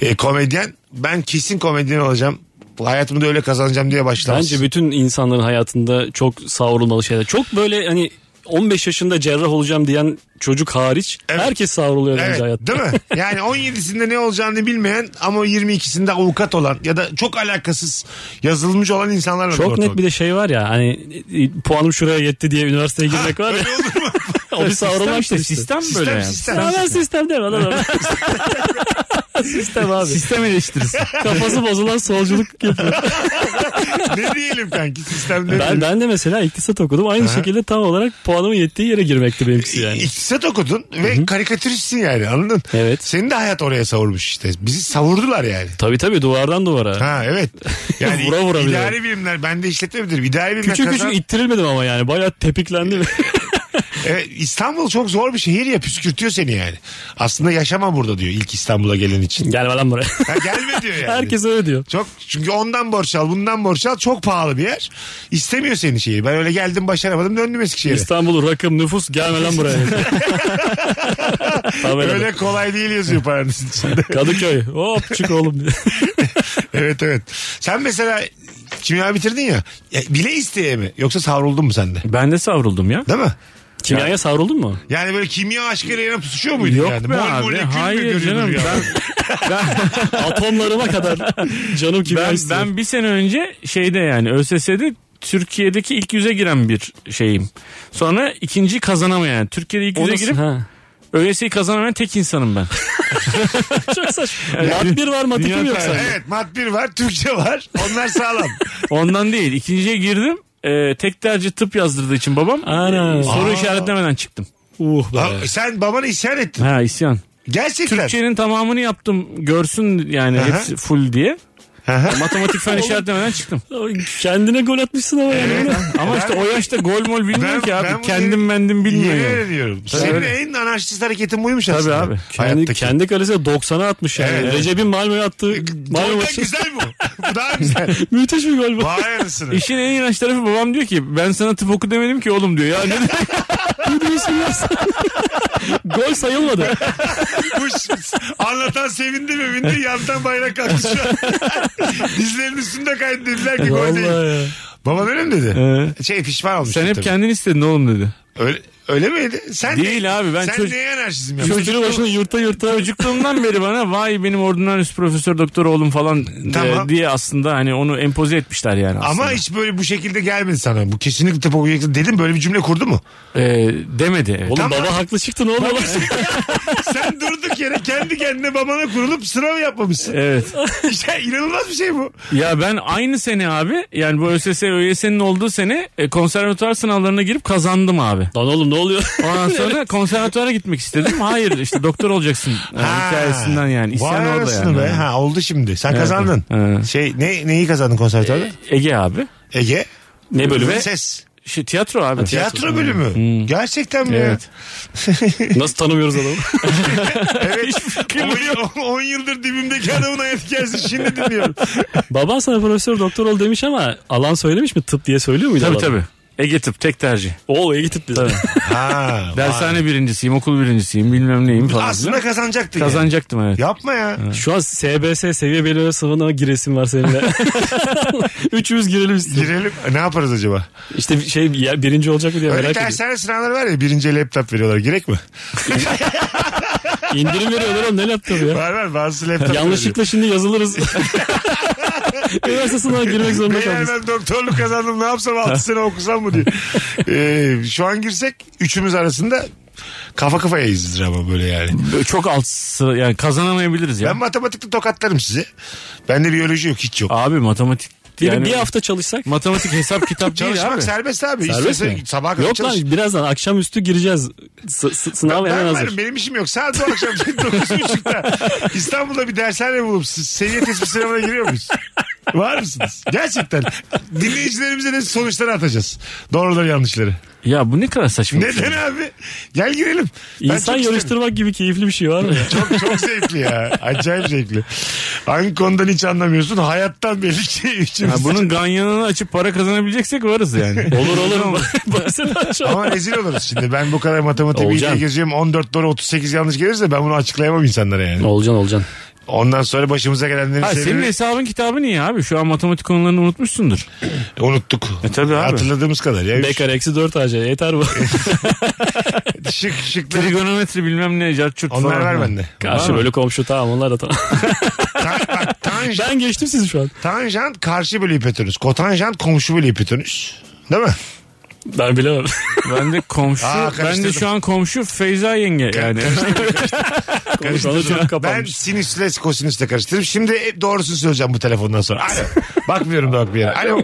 [SPEAKER 1] e, komedyen ben kesin komedyen olacağım. Bu Hayatımı da öyle kazanacağım diye başlamaz.
[SPEAKER 3] Bence bütün insanların hayatında çok savrulmalı şeyler. Çok böyle hani 15 yaşında cerrah olacağım diyen çocuk hariç
[SPEAKER 1] Evet.
[SPEAKER 3] herkes savruluyor
[SPEAKER 1] Evet,
[SPEAKER 3] bence hayatta.
[SPEAKER 1] Değil mi? Yani 17'sinde ne olacağını bilmeyen ama 22'sinde avukat olan ya da çok alakasız yazılmış olan insanlar var.
[SPEAKER 3] Çok net bir de şey var ya hani e, e, puanım şuraya yetti diye üniversiteye girmek var ya.
[SPEAKER 1] Öyle olur mu?
[SPEAKER 3] o bir savrulma
[SPEAKER 2] Sistem işte
[SPEAKER 3] işte. Sistem,
[SPEAKER 2] sistem böyle yani.
[SPEAKER 1] sistem.
[SPEAKER 3] sistem. sistem değil mi adam? sistem abi.
[SPEAKER 2] Sistem eleştirisi.
[SPEAKER 3] Kafası bozulan solculuk yapıyor.
[SPEAKER 1] ne diyelim kanki sistemde.
[SPEAKER 3] ben, ben de mesela iktisat okudum. Aynı şekilde tam olarak puanımın yettiği yere girmekti benimkisi yani.
[SPEAKER 1] İktisat okudun ve karikatüristsin yani anladın?
[SPEAKER 3] Evet.
[SPEAKER 1] Seni de hayat oraya savurmuş işte. Bizi savurdular yani.
[SPEAKER 3] Tabii tabii duvardan duvara.
[SPEAKER 1] Ha evet. Yani
[SPEAKER 3] Vura vura bir de.
[SPEAKER 1] idari bilimler ben de işletme bilirim. İdari bilimler
[SPEAKER 3] Küçük
[SPEAKER 1] kazan-
[SPEAKER 3] küçük ittirilmedim ama yani. Bayağı tepiklendim.
[SPEAKER 1] Evet, İstanbul çok zor bir şehir ya püskürtüyor seni yani. Aslında yaşama burada diyor ilk İstanbul'a gelen için.
[SPEAKER 3] Gel lan buraya.
[SPEAKER 1] Ha, gelme diyor şey yani.
[SPEAKER 3] Herkes öyle diyor.
[SPEAKER 1] Çok çünkü ondan borç al, bundan borç al. Çok pahalı bir yer. İstemiyor seni şeyi. Ben öyle geldim başaramadım döndüm Eskişehir'e.
[SPEAKER 3] İstanbul rakım nüfus gelme lan buraya. Tabelada.
[SPEAKER 1] Öyle kolay değil yazıyor paranın içinde.
[SPEAKER 3] Kadıköy. Hop çık oğlum.
[SPEAKER 1] evet evet. Sen mesela kimya bitirdin ya. ya bile isteye mi? Yoksa savruldun mu sen de?
[SPEAKER 2] Ben de savruldum ya.
[SPEAKER 1] Değil mi?
[SPEAKER 3] Kimyaya savruldun mu?
[SPEAKER 1] Yani böyle kimya aşkıyla yana pusuşuyor muydun
[SPEAKER 2] Yok
[SPEAKER 1] yani?
[SPEAKER 2] be
[SPEAKER 1] Mol
[SPEAKER 2] abi.
[SPEAKER 1] molekül mü
[SPEAKER 2] Hayır
[SPEAKER 1] görüyordun
[SPEAKER 2] canım.
[SPEAKER 1] ya?
[SPEAKER 2] Ben,
[SPEAKER 3] Atomlarıma kadar. Canım kimya
[SPEAKER 2] ben,
[SPEAKER 3] istiyor.
[SPEAKER 2] ben bir sene önce şeyde yani ÖSS'de Türkiye'deki ilk yüze giren bir şeyim. Sonra ikinci kazanamayan. Türkiye'de ilk
[SPEAKER 3] O
[SPEAKER 2] yüze
[SPEAKER 3] nasıl?
[SPEAKER 2] girip
[SPEAKER 3] Ha.
[SPEAKER 2] ÖSS'yi kazanamayan tek insanım ben.
[SPEAKER 3] Çok saçma. Mat bir var mat iki
[SPEAKER 2] Dünya
[SPEAKER 3] mi yok
[SPEAKER 2] tarihi.
[SPEAKER 3] sende?
[SPEAKER 1] Evet mat bir var Türkçe var onlar sağlam.
[SPEAKER 2] Ondan değil. İkinciye girdim. Ee, tek tercih tıp yazdırdığı için babam
[SPEAKER 3] Ana.
[SPEAKER 2] e, soru
[SPEAKER 1] Aa.
[SPEAKER 2] işaretlemeden çıktım.
[SPEAKER 3] Uh
[SPEAKER 1] Ha,
[SPEAKER 3] be.
[SPEAKER 1] sen babana isyan ettin.
[SPEAKER 2] Ha isyan.
[SPEAKER 1] Gerçekten.
[SPEAKER 2] Türkçenin tamamını yaptım görsün yani
[SPEAKER 1] Aha.
[SPEAKER 2] hepsi full diye.
[SPEAKER 1] Aha.
[SPEAKER 2] Matematik fen işaretlemeden çıktım.
[SPEAKER 3] Kendine gol atmışsın ama yani.
[SPEAKER 2] Ama işte o yaşta gol mol
[SPEAKER 1] Ben-
[SPEAKER 2] bilmiyor ki abi.
[SPEAKER 1] ben bunu
[SPEAKER 2] Kendim
[SPEAKER 1] yeni-
[SPEAKER 2] bendim bilmiyor
[SPEAKER 1] Yemin
[SPEAKER 2] yani.
[SPEAKER 1] ediyorum. Senin
[SPEAKER 2] öyle.
[SPEAKER 1] en anarşist hareketin buymuş
[SPEAKER 2] Tabii
[SPEAKER 1] aslında.
[SPEAKER 2] abi.
[SPEAKER 3] Kendi,
[SPEAKER 1] Hayattaki.
[SPEAKER 3] kendi kalesine 90'a atmış yani.
[SPEAKER 1] Evet, evet.
[SPEAKER 3] Recep'in Malmö'ye attığı Malmö
[SPEAKER 1] Golden
[SPEAKER 3] maçı.
[SPEAKER 1] güzel bu. Bu daha güzel.
[SPEAKER 3] Müthiş bir gol bu.
[SPEAKER 1] Vay anasını.
[SPEAKER 2] İşin en inanç tarafı babam diyor ki ben sana tıp oku demedim ki oğlum diyor. Ya ne
[SPEAKER 3] gol sayılmadı.
[SPEAKER 1] Bu ş- Anlatan sevindi mi bindi yandan bayrak kalktı şu an. Dizlerinin üstünde kaydı dediler ki gol değil.
[SPEAKER 3] Vallahi ya.
[SPEAKER 1] Baba öyle mi dedi? Şey pişman olmuş.
[SPEAKER 2] sen hep
[SPEAKER 1] tabii.
[SPEAKER 2] kendin istedin oğlum dedi.
[SPEAKER 1] Öyle, öyle miydi? Sen
[SPEAKER 2] Değil
[SPEAKER 1] ne-
[SPEAKER 2] abi, ben
[SPEAKER 1] Sen
[SPEAKER 2] çocuk-
[SPEAKER 1] neye anarşizm yaptın?
[SPEAKER 3] Çocuğun başını yurta yurta.
[SPEAKER 2] Çocukluğumdan beri bana vay benim ordinarius profesör doktor oğlum falan de-
[SPEAKER 1] Tamam.
[SPEAKER 2] diye aslında hani onu empoze etmişler yani aslında.
[SPEAKER 1] Ama hiç böyle bu şekilde gelmedi sana. Bu kesinlikle tıp okuyacaksın dedim böyle bir cümle kurdu mu?
[SPEAKER 2] Ee, demedi. evet.
[SPEAKER 3] Oğlum
[SPEAKER 1] E, Tamam.
[SPEAKER 3] baba haklı çıktı ne oldu?
[SPEAKER 1] Sen durduk yere kendi kendine babana kurulup sınav yapmamışsın.
[SPEAKER 2] Evet.
[SPEAKER 1] Ya inanılmaz bir şey bu.
[SPEAKER 2] Ya ben aynı sene abi yani bu ÖSS, ÖYS'nin olduğu sene e, konservatuvar sınavlarına girip kazandım abi.
[SPEAKER 3] Lan oğlum ne oluyor?
[SPEAKER 2] Ondan sonra konservatuvara gitmek istedim. Hayır işte doktor olacaksın yani
[SPEAKER 1] Ha.
[SPEAKER 2] hikayesinden yani. İsyan
[SPEAKER 1] Vay
[SPEAKER 2] orada
[SPEAKER 1] anasını
[SPEAKER 2] yani.
[SPEAKER 1] Be. Ha, oldu şimdi. Sen kazandın.
[SPEAKER 2] Evet.
[SPEAKER 1] Şey ne neyi kazandın konservatuvarda?
[SPEAKER 2] Ege abi.
[SPEAKER 1] Ege.
[SPEAKER 3] Ee, ne bölümü?
[SPEAKER 1] Ses.
[SPEAKER 2] Şey, tiyatro abi.
[SPEAKER 1] Tiyatro bölümü. Gerçekten mi? Evet.
[SPEAKER 2] Hmm. Evet.
[SPEAKER 3] Nasıl tanımıyoruz adamı?
[SPEAKER 1] evet. 10 yıldır dibimdeki adamın hayat hikayesi şimdi dinliyorum.
[SPEAKER 3] Baban sana profesör doktor ol demiş ama alan söylemiş mi tıp diye söylüyor muydu?
[SPEAKER 2] Tabii
[SPEAKER 3] adam?
[SPEAKER 2] tabii. Ege tıp tek tercih.
[SPEAKER 3] Oo iyi tıp dedi.
[SPEAKER 1] Ha, vay.
[SPEAKER 2] Dershane birincisiyim, okul birincisiyim, bilmem neyim falan.
[SPEAKER 1] Aslında
[SPEAKER 2] filan.
[SPEAKER 1] kazanacaktın. yani.
[SPEAKER 2] kazanacaktım evet.
[SPEAKER 1] Yapma ya.
[SPEAKER 3] Şu an SBS seviye belirleme sınavına giresin var seninle. Üçümüz girelim istedim.
[SPEAKER 1] Girelim. E, Ne yaparız acaba?
[SPEAKER 3] İşte şey ya, birinci olacak mı diye
[SPEAKER 1] Öyle
[SPEAKER 3] merak ediyorum.
[SPEAKER 1] dershane sınavları var ya birinci laptop veriyorlar. Gerek mi?
[SPEAKER 3] İndirim veriyorlar oğlum ne laptopu ya.
[SPEAKER 1] Var var bazı laptop.
[SPEAKER 3] Yanlışlıkla şimdi yazılırız. Üniversite sınavına girmek zorunda
[SPEAKER 1] Beyler
[SPEAKER 3] kaldık.
[SPEAKER 1] ben doktorluk kazandım ne yapsam 6 sene okusam mı diyor. Ee, şu an girsek üçümüz arasında kafa kafaya izdir ama böyle yani.
[SPEAKER 2] Çok alt sıra yani kazanamayabiliriz ya.
[SPEAKER 1] Ben matematikte tokatlarım sizi. Bende biyoloji yok hiç yok.
[SPEAKER 2] Abi matematik
[SPEAKER 3] Yani,
[SPEAKER 2] yani
[SPEAKER 3] bir hafta çalışsak.
[SPEAKER 2] matematik hesap kitap değil
[SPEAKER 1] Çalışmak
[SPEAKER 2] abi.
[SPEAKER 1] serbest abi.
[SPEAKER 3] Serbest
[SPEAKER 1] İstersen
[SPEAKER 3] mi?
[SPEAKER 1] Sabaha kadar
[SPEAKER 3] Yok
[SPEAKER 1] çalış.
[SPEAKER 3] lan birazdan akşamüstü gireceğiz. S- s- sınav
[SPEAKER 1] Ben
[SPEAKER 3] hemen
[SPEAKER 1] varım,
[SPEAKER 3] hazır.
[SPEAKER 1] benim işim yok. Saat bu akşam 9.30'da İstanbul'da bir dershane bulup siz seviye tespit sınavına giriyor muyuz? Var mısınız? Gerçekten. Dinleyicilerimize de sonuçları atacağız. Doğruları yanlışları.
[SPEAKER 2] Ya bu ne kadar saçma. bir şey.
[SPEAKER 1] Neden abi? Gel girelim. Ben
[SPEAKER 3] İnsan
[SPEAKER 1] çok isterim.
[SPEAKER 3] yarıştırmak gibi keyifli bir şey var mı? ya?
[SPEAKER 1] Çok çok zevkli ya. Acayip zevkli. Hangi konudan hiç anlamıyorsun? Hayattan belli şey ki
[SPEAKER 2] Ha,
[SPEAKER 1] üçümüz.
[SPEAKER 2] bunun ganyanını açıp para kazanabileceksek varız yani.
[SPEAKER 3] olur olur. Bahseden çok.
[SPEAKER 1] Ama rezil oluruz şimdi. Ben bu kadar matematik
[SPEAKER 3] Olcan.
[SPEAKER 1] bilgiye geziyorum. 14 doğru 38 yanlış gelirse ben bunu açıklayamam insanlara yani.
[SPEAKER 3] Olcan olcan.
[SPEAKER 1] Ondan sonra başımıza gelenlerin
[SPEAKER 3] şey
[SPEAKER 2] Ha, senin
[SPEAKER 1] sebebini
[SPEAKER 2] hesabın kitabı niye abi? Şu an matematik konularını unutmuşsundur.
[SPEAKER 1] unuttuk.
[SPEAKER 2] E, tabii abi.
[SPEAKER 1] Hatırladığımız kadar. Ya. Üç-
[SPEAKER 3] Bekar eksi 4 AC yeter bu.
[SPEAKER 1] Şık şıkları.
[SPEAKER 2] Trigonometri bilmem ne cart çurt
[SPEAKER 1] Onlar
[SPEAKER 2] falan.
[SPEAKER 1] var bende.
[SPEAKER 3] Karşı bölü komşu tamam onlar da tamam.
[SPEAKER 1] Ta- bak, tanjant,
[SPEAKER 3] ben geçtim sizi şu an.
[SPEAKER 1] tanjant karşı bölü hipotenüs. Kotanjant komşu bölü hipotenüs. Değil mi?
[SPEAKER 3] Ben bilemem.
[SPEAKER 2] Ben de komşu.
[SPEAKER 1] Aa,
[SPEAKER 2] ben de
[SPEAKER 1] karıştırdım.
[SPEAKER 2] şu an komşu Feyza yenge yani.
[SPEAKER 3] Konuşmalar çok
[SPEAKER 1] Ben
[SPEAKER 3] kapanmış.
[SPEAKER 1] sinüsle kosinüsle karıştırdım. Şimdi hep doğrusunu söyleyeceğim bu telefondan sonra. Alo. Bakmıyorum da bak bir yere. Alo.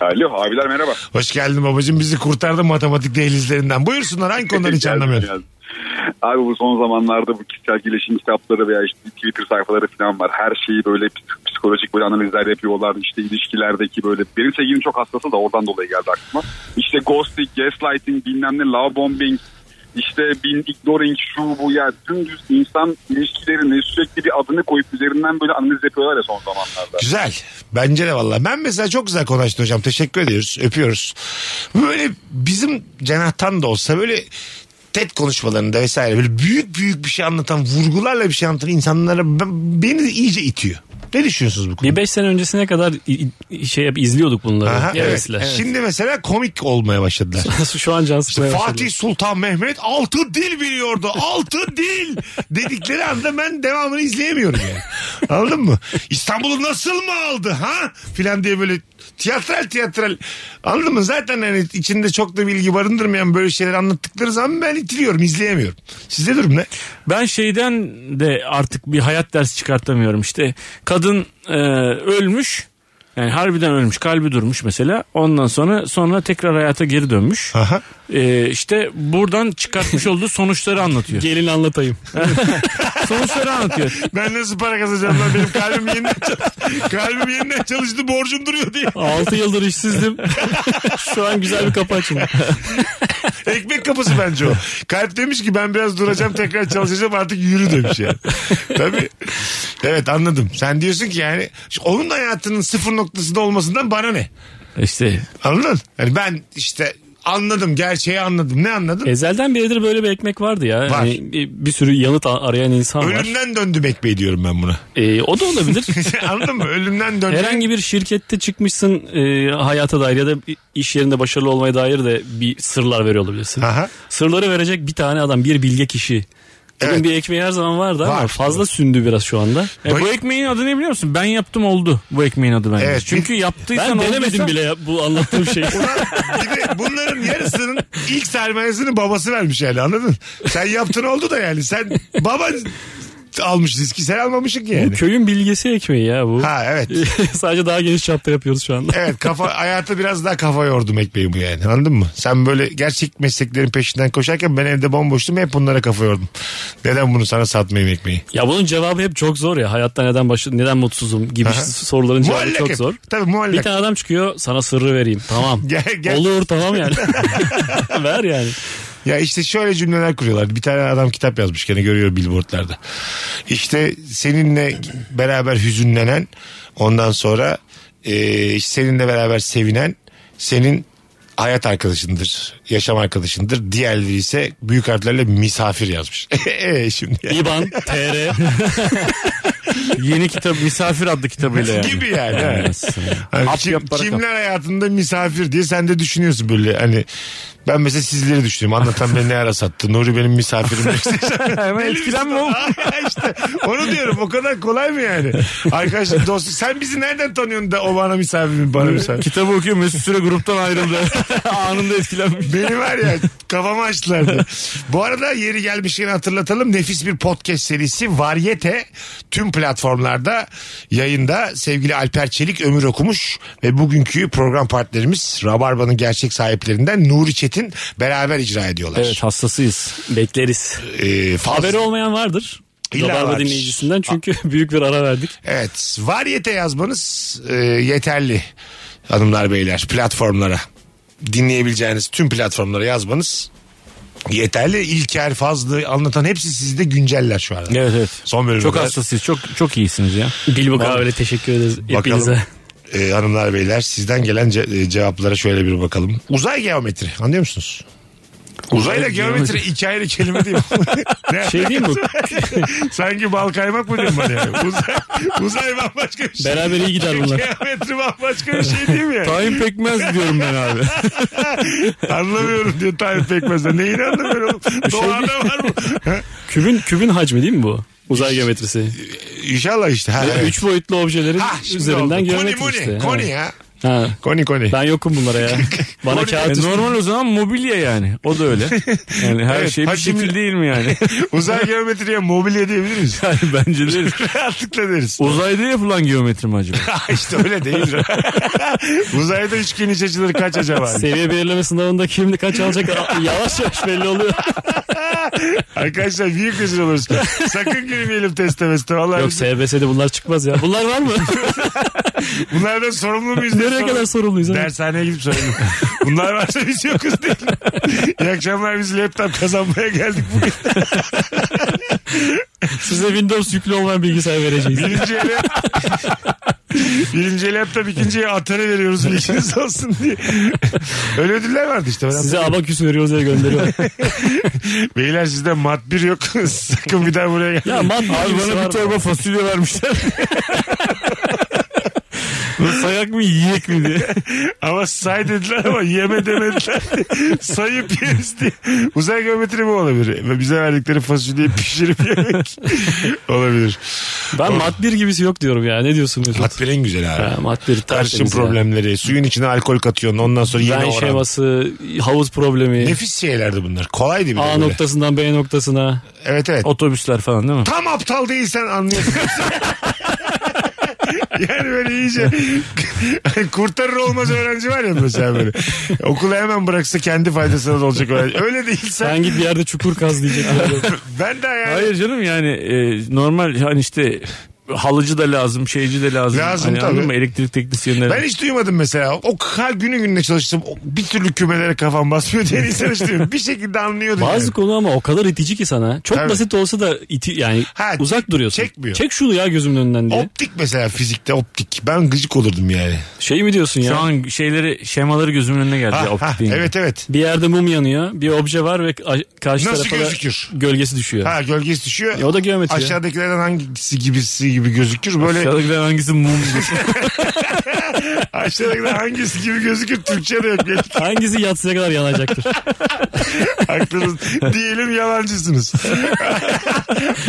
[SPEAKER 8] Alo abiler merhaba.
[SPEAKER 1] Hoş geldin babacığım. Bizi kurtardın matematik dehlizlerinden. Buyursunlar hangi konudan hiç
[SPEAKER 8] Geldim,
[SPEAKER 1] anlamıyorsun?
[SPEAKER 8] geldim. Abi bu son zamanlarda bu kişisel gelişim kitapları veya işte Twitter sayfaları falan var. Her şeyi böyle psik- psikolojik böyle analizler yapıyorlar. İşte ilişkilerdeki böyle. Benim sevgilim çok hastası da oradan dolayı geldi aklıma. İşte ghosting, gaslighting bilmem ne, love bombing. işte bin ignoring şu bu ya dümdüz insan ilişkilerine sürekli bir adını koyup üzerinden böyle analiz yapıyorlar ya son zamanlarda.
[SPEAKER 1] Güzel. Bence de valla. Ben mesela çok güzel konuştun hocam. Teşekkür ediyoruz. Öpüyoruz. Böyle bizim cenahtan da olsa böyle TED konuşmalarında vesaire böyle büyük büyük bir şey anlatan vurgularla bir şey anlatan insanlara ben- beni iyice itiyor. Ne düşünüyorsunuz bu konuda?
[SPEAKER 3] Bir 5 sene öncesine kadar i- i- şey yap izliyorduk bunları.
[SPEAKER 1] Aha, evet.
[SPEAKER 3] Hevesle.
[SPEAKER 1] Şimdi mesela komik olmaya başladılar.
[SPEAKER 3] Şu an can
[SPEAKER 1] İşte
[SPEAKER 3] sıkmaya başladı.
[SPEAKER 1] Fatih Sultan Mehmet altı dil biliyordu. Altı dil dedikleri anda ben devamını izleyemiyorum yani. Anladın mı? İstanbul'u nasıl mı aldı ha? Filan diye böyle tiyatral tiyatral. Anladın mı? Zaten hani içinde çok da bilgi barındırmayan böyle şeyler anlattıkları zaman ben itiliyorum, izleyemiyorum. Sizde durum ne?
[SPEAKER 2] Ben şeyden de artık bir hayat dersi çıkartamıyorum işte. Kadın e, ölmüş. Yani harbiden ölmüş. Kalbi durmuş mesela. Ondan sonra sonra tekrar hayata geri dönmüş.
[SPEAKER 1] Aha.
[SPEAKER 2] E, işte buradan çıkartmış olduğu sonuçları anlatıyor.
[SPEAKER 3] Gelin anlatayım.
[SPEAKER 2] sonuçları anlatıyor.
[SPEAKER 1] Ben nasıl para kazanacağım lan? Benim kalbim yeniden, çalış- kalbim yeniden çalıştı, borcum duruyor diye.
[SPEAKER 3] 6 yıldır işsizdim. Şu an güzel bir kapı açıldı.
[SPEAKER 1] Ekmek kapısı bence o. Kalp demiş ki ben biraz duracağım tekrar çalışacağım artık yürü demiş yani. Tabii. Evet anladım. Sen diyorsun ki yani şu- onun hayatının sıfır noktasında olmasından bana ne?
[SPEAKER 2] İşte
[SPEAKER 1] Anladın? Yani ben işte anladım gerçeği anladım. Ne anladın?
[SPEAKER 3] Ezelden beridir böyle bir ekmek vardı ya. Hani bir, bir sürü yanıt a- arayan insan var.
[SPEAKER 1] Ölümden döndüm ekmeği diyorum ben buna.
[SPEAKER 3] Ee, o da olabilir.
[SPEAKER 1] Anladın mı? Ölümden döndüm.
[SPEAKER 3] Herhangi bir şirkette çıkmışsın e, hayata dair ya da iş yerinde başarılı olmaya dair de bir sırlar veriyor olabilirsin.
[SPEAKER 1] Aha.
[SPEAKER 3] Sırları verecek bir tane adam, bir bilge kişi. Bugün
[SPEAKER 1] Evet.
[SPEAKER 3] bir ekmeği her zaman vardı ama
[SPEAKER 1] Var.
[SPEAKER 3] fazla sündü biraz şu anda.
[SPEAKER 2] E, bu ekmeğin adı ne biliyor musun? Ben yaptım oldu. Bu ekmeğin adı bence.
[SPEAKER 1] Evet,
[SPEAKER 2] Çünkü
[SPEAKER 1] bir-
[SPEAKER 2] yaptıysan
[SPEAKER 3] Ben denemedim
[SPEAKER 2] olduysa-
[SPEAKER 3] bile ya bu anlattığım şey. şeyi.
[SPEAKER 1] Bir de bunların yarısının ilk sermayesini babası vermiş yani anladın? Sen yaptın oldu da yani sen baban almış riski sen almamışsın ki yani.
[SPEAKER 3] Köyün bilgesi ekmeği ya bu.
[SPEAKER 1] Ha evet.
[SPEAKER 3] Sadece daha geniş çapta yapıyoruz şu anda.
[SPEAKER 1] Evet kafa hayata biraz daha kafa yordum ekmeği bu yani anladın mı? Sen böyle gerçek mesleklerin peşinden koşarken ben evde bomboştum hep bunlara kafa yordum. Neden bunu sana satmayayım ekmeği?
[SPEAKER 3] Ya bunun cevabı hep çok zor ya. Hayatta neden başladım, neden mutsuzum gibi soruların cevabı
[SPEAKER 1] Muallak
[SPEAKER 3] çok
[SPEAKER 1] hep.
[SPEAKER 3] zor.
[SPEAKER 1] Tabii
[SPEAKER 3] Bir
[SPEAKER 1] muallak.
[SPEAKER 3] tane adam çıkıyor sana sırrı vereyim. Tamam.
[SPEAKER 1] Gel, gel.
[SPEAKER 3] Olur tamam yani. Ver yani.
[SPEAKER 1] Ya işte şöyle cümleler kuruyorlar. Bir tane adam kitap yazmış gene görüyor billboardlarda. İşte seninle beraber hüzünlenen ondan sonra e, seninle beraber sevinen senin hayat arkadaşındır, yaşam arkadaşındır. Diğerleri ise büyük harflerle misafir yazmış. E, şimdi yani.
[SPEAKER 3] İban, TR.
[SPEAKER 2] Yeni kitap misafir adlı kitabıyla yani.
[SPEAKER 1] Gibi yani, evet.
[SPEAKER 2] Anlasın.
[SPEAKER 1] Hani
[SPEAKER 2] Ap
[SPEAKER 1] kim-
[SPEAKER 2] yap para kap.
[SPEAKER 1] kimler hayatında misafir diye sen de düşünüyorsun böyle hani ben mesela sizleri düşünüyorum. Anlatan beni ne ara sattı. Nuri benim misafirim.
[SPEAKER 2] Hemen etkilenme oğlum.
[SPEAKER 1] işte onu diyorum o kadar kolay mı yani? Arkadaşlar dostum sen bizi nereden tanıyorsun da o bana misafir mi bana misafir.
[SPEAKER 2] Kitabı okuyor Mesut Süre gruptan ayrıldı. Anında etkilenmiş.
[SPEAKER 1] Beni var ya kafamı açtılardı. Bu arada yeri gelmişken hatırlatalım. Nefis bir podcast serisi Varyete tüm platformlarda yayında. Sevgili Alper Çelik ömür okumuş ve bugünkü program partnerimiz Rabarba'nın gerçek sahiplerinden Nuri Çetin beraber icra ediyorlar.
[SPEAKER 3] Evet hastasıyız. Bekleriz.
[SPEAKER 1] Ee, fazla-
[SPEAKER 3] Haberi olmayan vardır.
[SPEAKER 1] İlla
[SPEAKER 3] Rabarba
[SPEAKER 1] vardır.
[SPEAKER 3] dinleyicisinden çünkü büyük bir ara verdik.
[SPEAKER 1] Evet. Varyete yazmanız e, yeterli hanımlar beyler platformlara. Dinleyebileceğiniz tüm platformlara yazmanız yeterli. İlker Fazlı anlatan hepsi sizde günceller şu anda.
[SPEAKER 2] Evet evet.
[SPEAKER 1] Son bölümde.
[SPEAKER 2] Çok hastasıyız. Çok çok iyisiniz ya.
[SPEAKER 3] Bilbo Kahveli teşekkür ederiz
[SPEAKER 1] Bakalım.
[SPEAKER 3] hepinize.
[SPEAKER 1] e, hanımlar beyler sizden gelen ce- e, cevaplara şöyle bir bakalım. Uzay geometri anlıyor musunuz? Uzayla geometri iki ayrı kelime değil mi? Ne
[SPEAKER 3] Şey değil mi bu?
[SPEAKER 1] Sanki bal kaymak mı diyorsun bana yani? Uzay, uzay bambaşka bir şey.
[SPEAKER 3] Beraber iyi gider bunlar.
[SPEAKER 1] Geometri bambaşka bir şey değil mi? yani?
[SPEAKER 2] Tayin pekmez diyorum ben abi.
[SPEAKER 1] Anlamıyorum diyor Tayyip Pekmez'den. Neyini anlamıyorum? oğlum? Doğada var mı?
[SPEAKER 3] Kübün kübün hacmi değil mi bu? Uzay geometrisi. Hani
[SPEAKER 1] İnşallah işte. Ha, evet.
[SPEAKER 3] Üç boyutlu objelerin
[SPEAKER 1] Ha, Ah, şimdi oldu.
[SPEAKER 3] üzerinden
[SPEAKER 1] Koni
[SPEAKER 3] geometri
[SPEAKER 1] muni.
[SPEAKER 3] işte.
[SPEAKER 1] Koni
[SPEAKER 3] Ha.
[SPEAKER 1] ya.
[SPEAKER 3] Ha.
[SPEAKER 1] Koni koni.
[SPEAKER 3] Ben yokum bunlara ya. Bana kağıt
[SPEAKER 2] E, normal o zaman mobilya yani. O da öyle. Yani her
[SPEAKER 1] Evet,
[SPEAKER 2] şey bir
[SPEAKER 1] hacimli-
[SPEAKER 2] şekil değil mi yani?
[SPEAKER 1] Uzay geometriye mobilya diyebilir miyiz?
[SPEAKER 2] yani bence değil.
[SPEAKER 1] Rahatlıkla deriz.
[SPEAKER 2] Uzayda yapılan geometri mi acaba?
[SPEAKER 1] işte öyle değil. Uzayda üçgen iç açıları kaç acaba?
[SPEAKER 3] seviye belirleme sınavında kim kaç alacak yavaş yavaş belli oluyor.
[SPEAKER 1] Arkadaşlar büyük rezil oluruz. Sakın girmeyelim teste meste. Vallahi
[SPEAKER 3] Yok
[SPEAKER 1] biz-
[SPEAKER 3] SBS'de bunlar çıkmaz ya. Bunlar var mı?
[SPEAKER 1] bunlardan sorumlu muyuz? diye
[SPEAKER 3] Nereye kadar
[SPEAKER 1] sorarım.
[SPEAKER 3] sorumluyuz? ha?
[SPEAKER 1] Dershaneye gidip sorayım. Bunlar varsa biz yokuz değil. İyi akşamlar biz laptop kazanmaya geldik bugün.
[SPEAKER 3] Size Windows yüklü olmayan bilgisayar vereceğiz.
[SPEAKER 1] Birinci ele Birinci ele yaptım ikinciye atarı veriyoruz bilginiz olsun diye. Öyle ödüller vardı işte. Ben
[SPEAKER 3] Size abaküs veriyoruz diye gönderiyor.
[SPEAKER 1] hatırlıyorum. Beyler sizde mat bir yok. Sakın bir daha buraya gel.
[SPEAKER 3] ya man
[SPEAKER 2] Abi bana bir torba fasulye vermişler. Bu sayak mı yiyek mi diye.
[SPEAKER 1] Ama say dediler ama yeme demediler. Sayıp yeriz diye. Uzay geometri bu olabilir. Ve bize verdikleri fasulyeyi pişirip yemek olabilir.
[SPEAKER 3] Ben mat bir gibisi yok diyorum ya. Ne diyorsun Mesut?
[SPEAKER 1] Mat bir en güzel abi.
[SPEAKER 3] Ha, mat bir
[SPEAKER 1] Tartışım
[SPEAKER 3] tertemiz ya.
[SPEAKER 1] problemleri. Suyun içine alkol katıyorsun. Ondan sonra yine
[SPEAKER 3] Ben şey
[SPEAKER 1] oran.
[SPEAKER 3] şeması, havuz problemi.
[SPEAKER 1] Nefis şeylerdi bunlar. Kolaydı bir de
[SPEAKER 3] A
[SPEAKER 1] böyle.
[SPEAKER 3] noktasından B noktasına.
[SPEAKER 1] Evet evet.
[SPEAKER 2] Otobüsler falan değil mi?
[SPEAKER 1] tam aptal değilsen anlıyorsun. yani böyle iyice kurtarır olmaz öğrenci var ya mesela böyle. Okulu hemen bıraksa kendi faydasına da olacak öğrenci. Öyle değilsen
[SPEAKER 3] Sen git bir yerde çukur kaz diyecekler.
[SPEAKER 1] ben de yani
[SPEAKER 2] Hayır canım yani e, normal hani işte halıcı da lazım, şeyci de lazım.
[SPEAKER 1] Lazım
[SPEAKER 2] hani anladın
[SPEAKER 1] tabii.
[SPEAKER 2] mı? Elektrik teknisyenleri.
[SPEAKER 1] Ben hiç duymadım mesela. O kadar günü gününe çalıştım. O Bir türlü kümelere kafam basmıyor diye insan hiç duymadım. Bir şekilde anlıyordum.
[SPEAKER 3] Bazı
[SPEAKER 1] yani.
[SPEAKER 3] konu ama o kadar itici ki sana. Çok
[SPEAKER 1] Tabii.
[SPEAKER 3] basit olsa da iti, yani
[SPEAKER 1] Ha,
[SPEAKER 3] uzak duruyorsun.
[SPEAKER 1] çekmiyor.
[SPEAKER 3] Çek şunu ya gözümün önünden diye.
[SPEAKER 1] Optik mesela fizikte optik. Ben gıcık olurdum yani.
[SPEAKER 3] Şey mi diyorsun
[SPEAKER 2] Şu
[SPEAKER 3] ya?
[SPEAKER 2] an şeyleri, şemaları gözümün önüne geldi.
[SPEAKER 1] Ha,
[SPEAKER 2] ya, optik
[SPEAKER 1] ha,
[SPEAKER 2] deyince.
[SPEAKER 1] evet evet.
[SPEAKER 3] Bir yerde mum yanıyor. Bir obje var ve a- karşı
[SPEAKER 1] Nasıl
[SPEAKER 3] tarafa da
[SPEAKER 1] gözükür?
[SPEAKER 3] gölgesi düşüyor.
[SPEAKER 1] Ha gölgesi düşüyor.
[SPEAKER 3] E, o da geometri. ya.
[SPEAKER 1] Aşağıdakilerden hangisi gibisi gibi gözükür böyle
[SPEAKER 2] Aşağıdakiler hangisi mumdur?
[SPEAKER 1] Aşağıdakiler hangisi gibi gözükür Türkçe de yok. Benim
[SPEAKER 3] Hangisi yatsıya kadar yanacaktır?
[SPEAKER 1] Aklınız diyelim yalancısınız.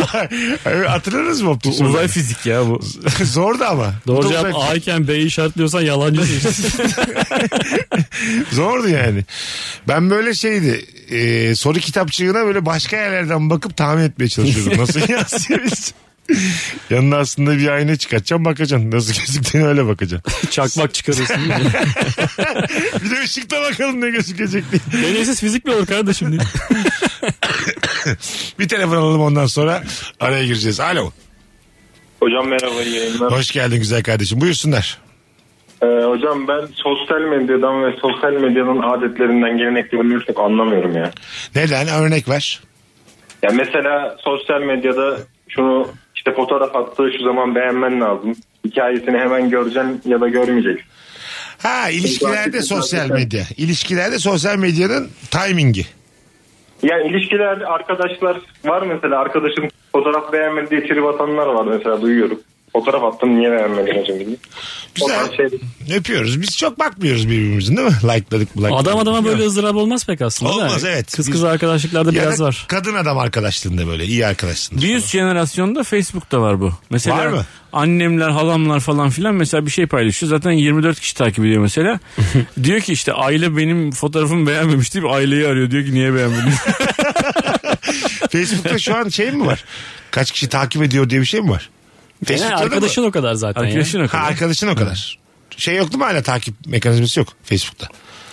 [SPEAKER 1] Hatırladınız mı optik
[SPEAKER 2] Uzay
[SPEAKER 1] soruları?
[SPEAKER 2] fizik ya bu.
[SPEAKER 1] Zordu ama.
[SPEAKER 3] Doğru
[SPEAKER 1] Uzay
[SPEAKER 3] cevap
[SPEAKER 1] fizik.
[SPEAKER 3] A iken B'yi işaretliyorsan yalancısın.
[SPEAKER 1] Zordu yani. Ben böyle şeydi. e, soru kitapçığına böyle başka yerlerden bakıp tahmin etmeye çalışıyordum. Nasıl yansıyabiliriz? Yanına aslında bir ayna çıkartacağım bakacaksın. Nasıl gözüktüğüne öyle bakacaksın.
[SPEAKER 3] Çakmak çıkarıyorsun. değil mi?
[SPEAKER 1] Bir de ışıkta bakalım ne gözükecek diye.
[SPEAKER 3] Deneysiz fizik mi olur kardeşim diye.
[SPEAKER 1] Bir telefon alalım ondan sonra araya gireceğiz. Alo.
[SPEAKER 9] Hocam merhaba iyi yayınlar.
[SPEAKER 1] Hoş geldin güzel kardeşim. Buyursunlar.
[SPEAKER 9] Ee, hocam ben sosyal medyadan ve sosyal medyanın adetlerinden geleneklerinden çok anlamıyorum ya.
[SPEAKER 1] Neden? Örnek ver.
[SPEAKER 9] Ya mesela sosyal medyada şunu işte fotoğraf attığı şu zaman beğenmen lazım. Hikayesini hemen göreceksin ya da görmeyeceksin.
[SPEAKER 1] Ha ilişkilerde sosyal medya. İlişkilerde sosyal medyanın timingi.
[SPEAKER 9] Yani ilişkiler, arkadaşlar var mesela arkadaşın Fotoğraf beğenmedi diye trip atanlar var mesela duyuyorum. Fotoğraf attım niye beğenmedin hocam diye. O
[SPEAKER 1] Güzel.
[SPEAKER 9] tarz şeyler.
[SPEAKER 1] Öpüyoruz. Biz çok bakmıyoruz birbirimizin değil mi? Like'ladık like'ladık.
[SPEAKER 3] Adam adama böyle ızdırap olmaz pek aslında. değil mi?
[SPEAKER 1] Olmaz, evet.
[SPEAKER 3] Kız kız arkadaşlıklarda
[SPEAKER 1] Ya da
[SPEAKER 3] biraz var.
[SPEAKER 1] Kadın adam arkadaşlığında böyle iyi arkadaşlığında.
[SPEAKER 2] Bir üst jenerasyonda Facebook'ta var bu. Mesela
[SPEAKER 1] Var mı?
[SPEAKER 2] annemler, halamlar falan filan mesela bir şey paylaşıyor. Zaten 24 kişi takip ediyor mesela. diyor ki işte aile benim fotoğrafımı beğenmemiş deyip aileyi arıyor. Diyor ki niye beğenmedin?
[SPEAKER 1] Facebook'ta şu an şey mi var? Kaç kişi takip ediyor diye bir şey mi var?
[SPEAKER 3] Yani
[SPEAKER 1] Facebook'ta da mı?
[SPEAKER 3] arkadaşın o kadar zaten ya.
[SPEAKER 2] Arkadaşın o
[SPEAKER 1] Ha,
[SPEAKER 2] kadar.
[SPEAKER 1] arkadaşın o kadar. Şey yok değil mi hala takip mekanizması yok Facebook'ta.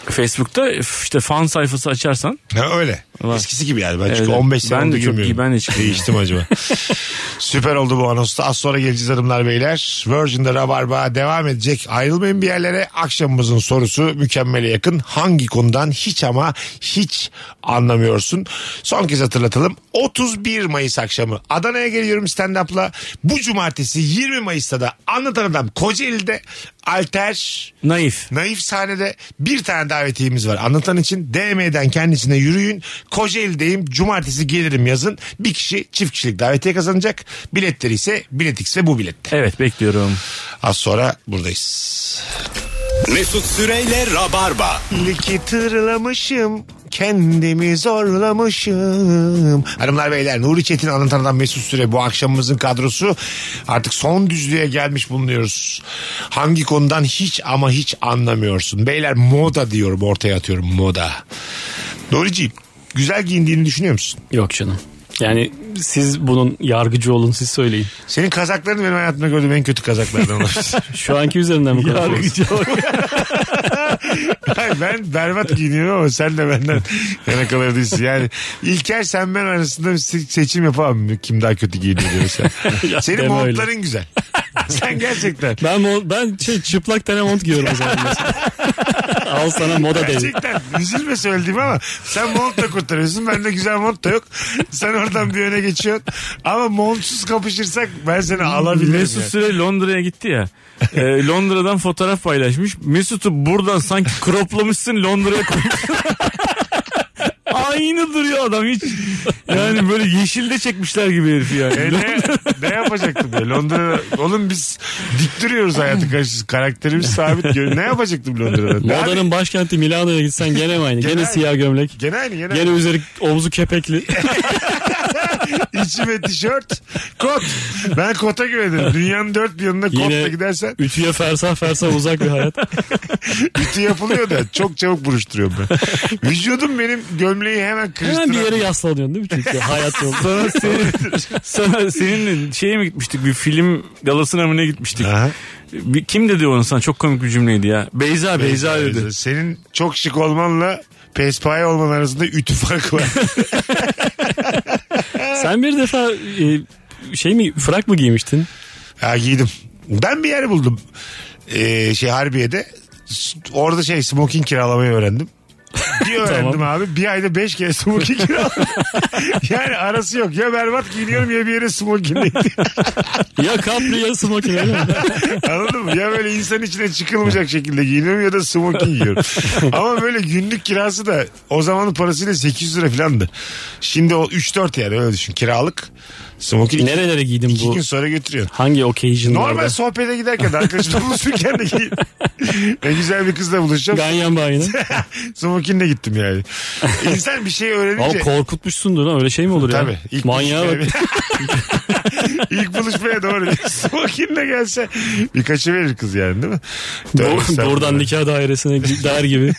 [SPEAKER 2] Facebook'ta işte fan sayfası açarsan
[SPEAKER 1] Ha öyle.
[SPEAKER 2] Var.
[SPEAKER 1] Eskisi gibi yani. Ben
[SPEAKER 2] Evet,
[SPEAKER 1] çünkü
[SPEAKER 2] evet.
[SPEAKER 1] 15 sene
[SPEAKER 2] Ben
[SPEAKER 1] onu
[SPEAKER 2] de çok
[SPEAKER 1] dökemiyorum.
[SPEAKER 2] iyi, ben de çıkıyorum.
[SPEAKER 1] Değiştim acaba. Süper oldu bu anonsta. Az sonra geleceğiz hanımlar beyler. Virgin'de Rabarba devam edecek. Ayrılmayın bir yerlere. Akşamımızın sorusu mükemmele yakın. Hangi konudan hiç ama hiç anlamıyorsun. Son kez hatırlatalım. 31 Mayıs akşamı Adana'ya geliyorum stand-up'la. Bu cumartesi 20 Mayıs'ta da Anlatan Adam Kocaeli'de Alter
[SPEAKER 2] naif.
[SPEAKER 1] Naif sahnede bir tane davetiyemiz var. Anlatan için DM'den kendisine yürüyün. Kocaeli'deyim. Cumartesi gelirim yazın. Bir kişi çift kişilik davetiye kazanacak. Biletleri ise biletix ve bu bilette.
[SPEAKER 2] Evet bekliyorum.
[SPEAKER 1] Az sonra buradayız.
[SPEAKER 5] Mesut Süreyle Rabarba.
[SPEAKER 1] Liki tırlamışım. Kendimi zorlamışım. Hanımlar beyler Nuri Çetin anlatandan Mesut Süre bu akşamımızın kadrosu artık son düzlüğe gelmiş bulunuyoruz. Hangi konudan hiç ama hiç anlamıyorsun. Beyler moda diyorum ortaya atıyorum moda. Nuri'ciğim güzel giyindiğini düşünüyor musun?
[SPEAKER 3] Yok canım. Yani siz bunun yargıcı olun siz söyleyin.
[SPEAKER 1] Senin kazakların benim hayatımda gördüğüm en kötü kazaklardan olabilir.
[SPEAKER 3] Şu anki üzerinden mi konuşuyoruz?
[SPEAKER 1] Hayır, ben berbat giyiniyorum ama sen de benden yana kalır değilsin. Yani İlker sen ben arasında bir se- seçim yapamam. Kim daha kötü giyiniyor diyor sen.
[SPEAKER 3] Ya
[SPEAKER 1] Senin
[SPEAKER 3] deme öyle.
[SPEAKER 1] montların güzel. sen gerçekten.
[SPEAKER 3] Ben mo- ben şey çıplak tane mont giyiyorum o zaman. Al sana moda değil.
[SPEAKER 1] Gerçekten üzülme söylediğim ama sen montla kurtarıyorsun. Bende güzel mont da yok. Sen oradan bir öne geçiyorsun. Ama montsuz kapışırsak ben seni alabilirim.
[SPEAKER 2] Mesut
[SPEAKER 1] yani.
[SPEAKER 2] Süre Londra'ya gitti ya. E, Londra'dan fotoğraf paylaşmış. Mesut'u buradan sanki croplamışsın Londra'ya koymuşsun. Aynı duruyor adam hiç. Yani böyle yeşilde çekmişler gibi herif yani.
[SPEAKER 1] E ne, ne yapacaktım ya Londra'da oğlum biz dik duruyoruz hayatı karşısında karakterimiz sabit Gö- ne yapacaktım Londra'da Ne
[SPEAKER 3] Modanın başkenti Milano'ya gitsen gene mi aynı?
[SPEAKER 1] Gene
[SPEAKER 3] Gene siyah gömlek.
[SPEAKER 1] Gene aynı gene,
[SPEAKER 3] Gene üzeri omzu kepekli.
[SPEAKER 1] aynı. İçi ve tişört. Kot. Ben kota güvenirim. Dünyanın dört bir yanına kotla
[SPEAKER 3] Yine
[SPEAKER 1] gidersen
[SPEAKER 3] ütüye fersah fersah uzak bir hayat.
[SPEAKER 1] ütü yapılıyor da çok çabuk buruşturuyorum ben. Vücudum benim gömleği hemen kırıştıran.
[SPEAKER 3] Hemen bir yere yaslanıyorsun değil mi? Çünkü hayat yolu.
[SPEAKER 2] Sana, senin, sana seninle şeye mi gitmiştik bir film galasına mı ne gitmiştik?
[SPEAKER 1] Aha.
[SPEAKER 2] Bir- kim dedi onu sana çok komik bir cümleydi ya. Beyza Beyza, dedi.
[SPEAKER 1] Senin çok şık olmanla pespaye olman arasında ütü farkı var.
[SPEAKER 3] Sen bir defa e, şey mi frak mı giymiştin?
[SPEAKER 1] Ha giydim. Ben bir yer buldum. Ee, şey Harbiye'de. S- Orada şey smoking kiralamayı öğrendim. Bir öğrendim abi. Bir ayda beş kere smoking kiraladım. yani arası yok. Ya berbat giyiniyorum ya bir yere smoking gidiyorum.
[SPEAKER 3] Ya kapri ya smoking öyle mi?
[SPEAKER 1] Anladın mı? Ya böyle insan içine çıkılmayacak şekilde giyiniyorum ya da smoking giyiyorum. Ama böyle günlük kirası da o zamanın parasıyla 800 lira filandı. Şimdi o 3-4 yani öyle düşün. Kiralık smoking. iki-
[SPEAKER 3] Nerelere giydin
[SPEAKER 1] iki
[SPEAKER 3] bu?
[SPEAKER 1] gün sonra götürüyorsun.
[SPEAKER 3] Hangi occasion'larda?
[SPEAKER 1] Normal sohbete giderken de arkadaşımla buluşurken de giy- ne güzel bir kızla buluşacağım.
[SPEAKER 3] Ganyan bayını.
[SPEAKER 1] Smokin'le gittim yani. İnsan bir şey
[SPEAKER 3] Ama
[SPEAKER 1] öğrenince...
[SPEAKER 3] korkutmuşsundur lan öyle şey mi olur ya?
[SPEAKER 1] Tabii. ilk şey,
[SPEAKER 3] Manyağa bak.
[SPEAKER 1] buluşmaya- ilk buluşmaya doğru. Smokin'le gelse birkaçı verir kız yani değil mi? Tövbe
[SPEAKER 3] Bu- Buradan
[SPEAKER 1] estağfurullah.
[SPEAKER 3] nikah dairesine gider gibi.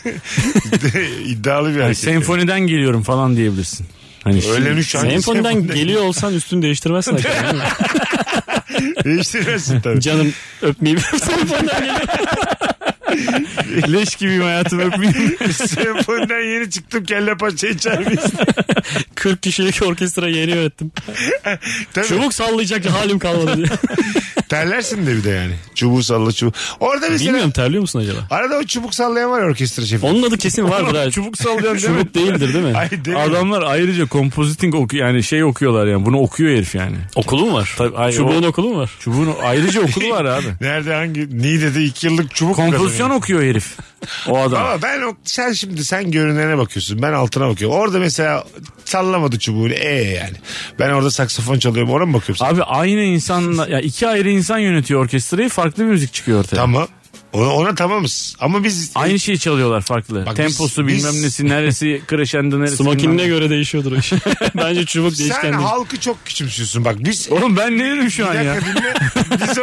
[SPEAKER 1] İddialı bir
[SPEAKER 2] Yani
[SPEAKER 1] erkek.
[SPEAKER 2] senfoniden geliyorum falan diyebilirsin. Hani
[SPEAKER 1] Öğlen üç hangi
[SPEAKER 3] Senfoniden
[SPEAKER 1] senfoniden-
[SPEAKER 3] geliyor olsan üstünü değiştirmezsin. hakikaten, değil mi?
[SPEAKER 1] Değiştirmezsin tabii.
[SPEAKER 3] Canım öpmeyeyim. Senfoniden geliyor.
[SPEAKER 2] leş gibiyim hayatım öpmeyeyim.
[SPEAKER 1] Senfoniden yeni çıktım kelle paça içer miyiz?
[SPEAKER 3] 40 kişilik orkestra yeni yönettim.
[SPEAKER 1] Tabii.
[SPEAKER 3] Çubuk sallayacak halim kalmadı. diye.
[SPEAKER 1] Terlersin de bir de yani. Çubuğu salla çubuğu. Orada mesela
[SPEAKER 3] Bilmiyorum terliyor musun acaba?
[SPEAKER 1] arada o çubuk sallayan var ya orkestra şefi.
[SPEAKER 3] Onun adı kesin vardır. ha.
[SPEAKER 2] Çubuk sallayan değil mi?
[SPEAKER 3] Çubuk değildir değil mi?
[SPEAKER 1] Ay, değil mi?
[SPEAKER 2] Adamlar ayrıca kompoziting oku yani şey okuyorlar yani. Bunu okuyor herif yani.
[SPEAKER 3] Okulu mu var?
[SPEAKER 2] Tabii, ay,
[SPEAKER 3] Çubuğun
[SPEAKER 2] o-
[SPEAKER 3] okulu mu var?
[SPEAKER 2] Çubuğun ayrıca okulu var abi.
[SPEAKER 1] Nerede hangi? Niğde'de iki yıllık çubuk.
[SPEAKER 2] Kompozisyon
[SPEAKER 1] kazanıyor.
[SPEAKER 2] okuyor herif. O adam.
[SPEAKER 1] Ama ben o- sen şimdi sen görünene bakıyorsun. Ben altına bakıyorum. Orada mesela sallamadı çubuğunu. E yani. Ben orada saksafon çalıyorum. Ona mı bakıyorsun?
[SPEAKER 2] Abi aynı insanla ya iki ayrı insan yönetiyor orkestrayı farklı bir müzik çıkıyor ortaya.
[SPEAKER 1] Tamam. Ona, ona tamamız. Ama biz
[SPEAKER 2] Aynı şeyi çalıyorlar farklı.
[SPEAKER 1] Bak
[SPEAKER 2] Temposu
[SPEAKER 1] biz-
[SPEAKER 2] bilmem nesi neresi crescendo neresi. bilmem
[SPEAKER 3] Smokin'ine
[SPEAKER 2] ne.
[SPEAKER 3] göre değişiyordur o iş. Bence çubuk
[SPEAKER 1] sen
[SPEAKER 3] değişken değil.
[SPEAKER 1] halkı çok küçümsüyorsun. Bak biz
[SPEAKER 2] Oğlum ben ne dedim şu
[SPEAKER 1] Bir
[SPEAKER 2] an ya?
[SPEAKER 1] dakika dinle. Biz o...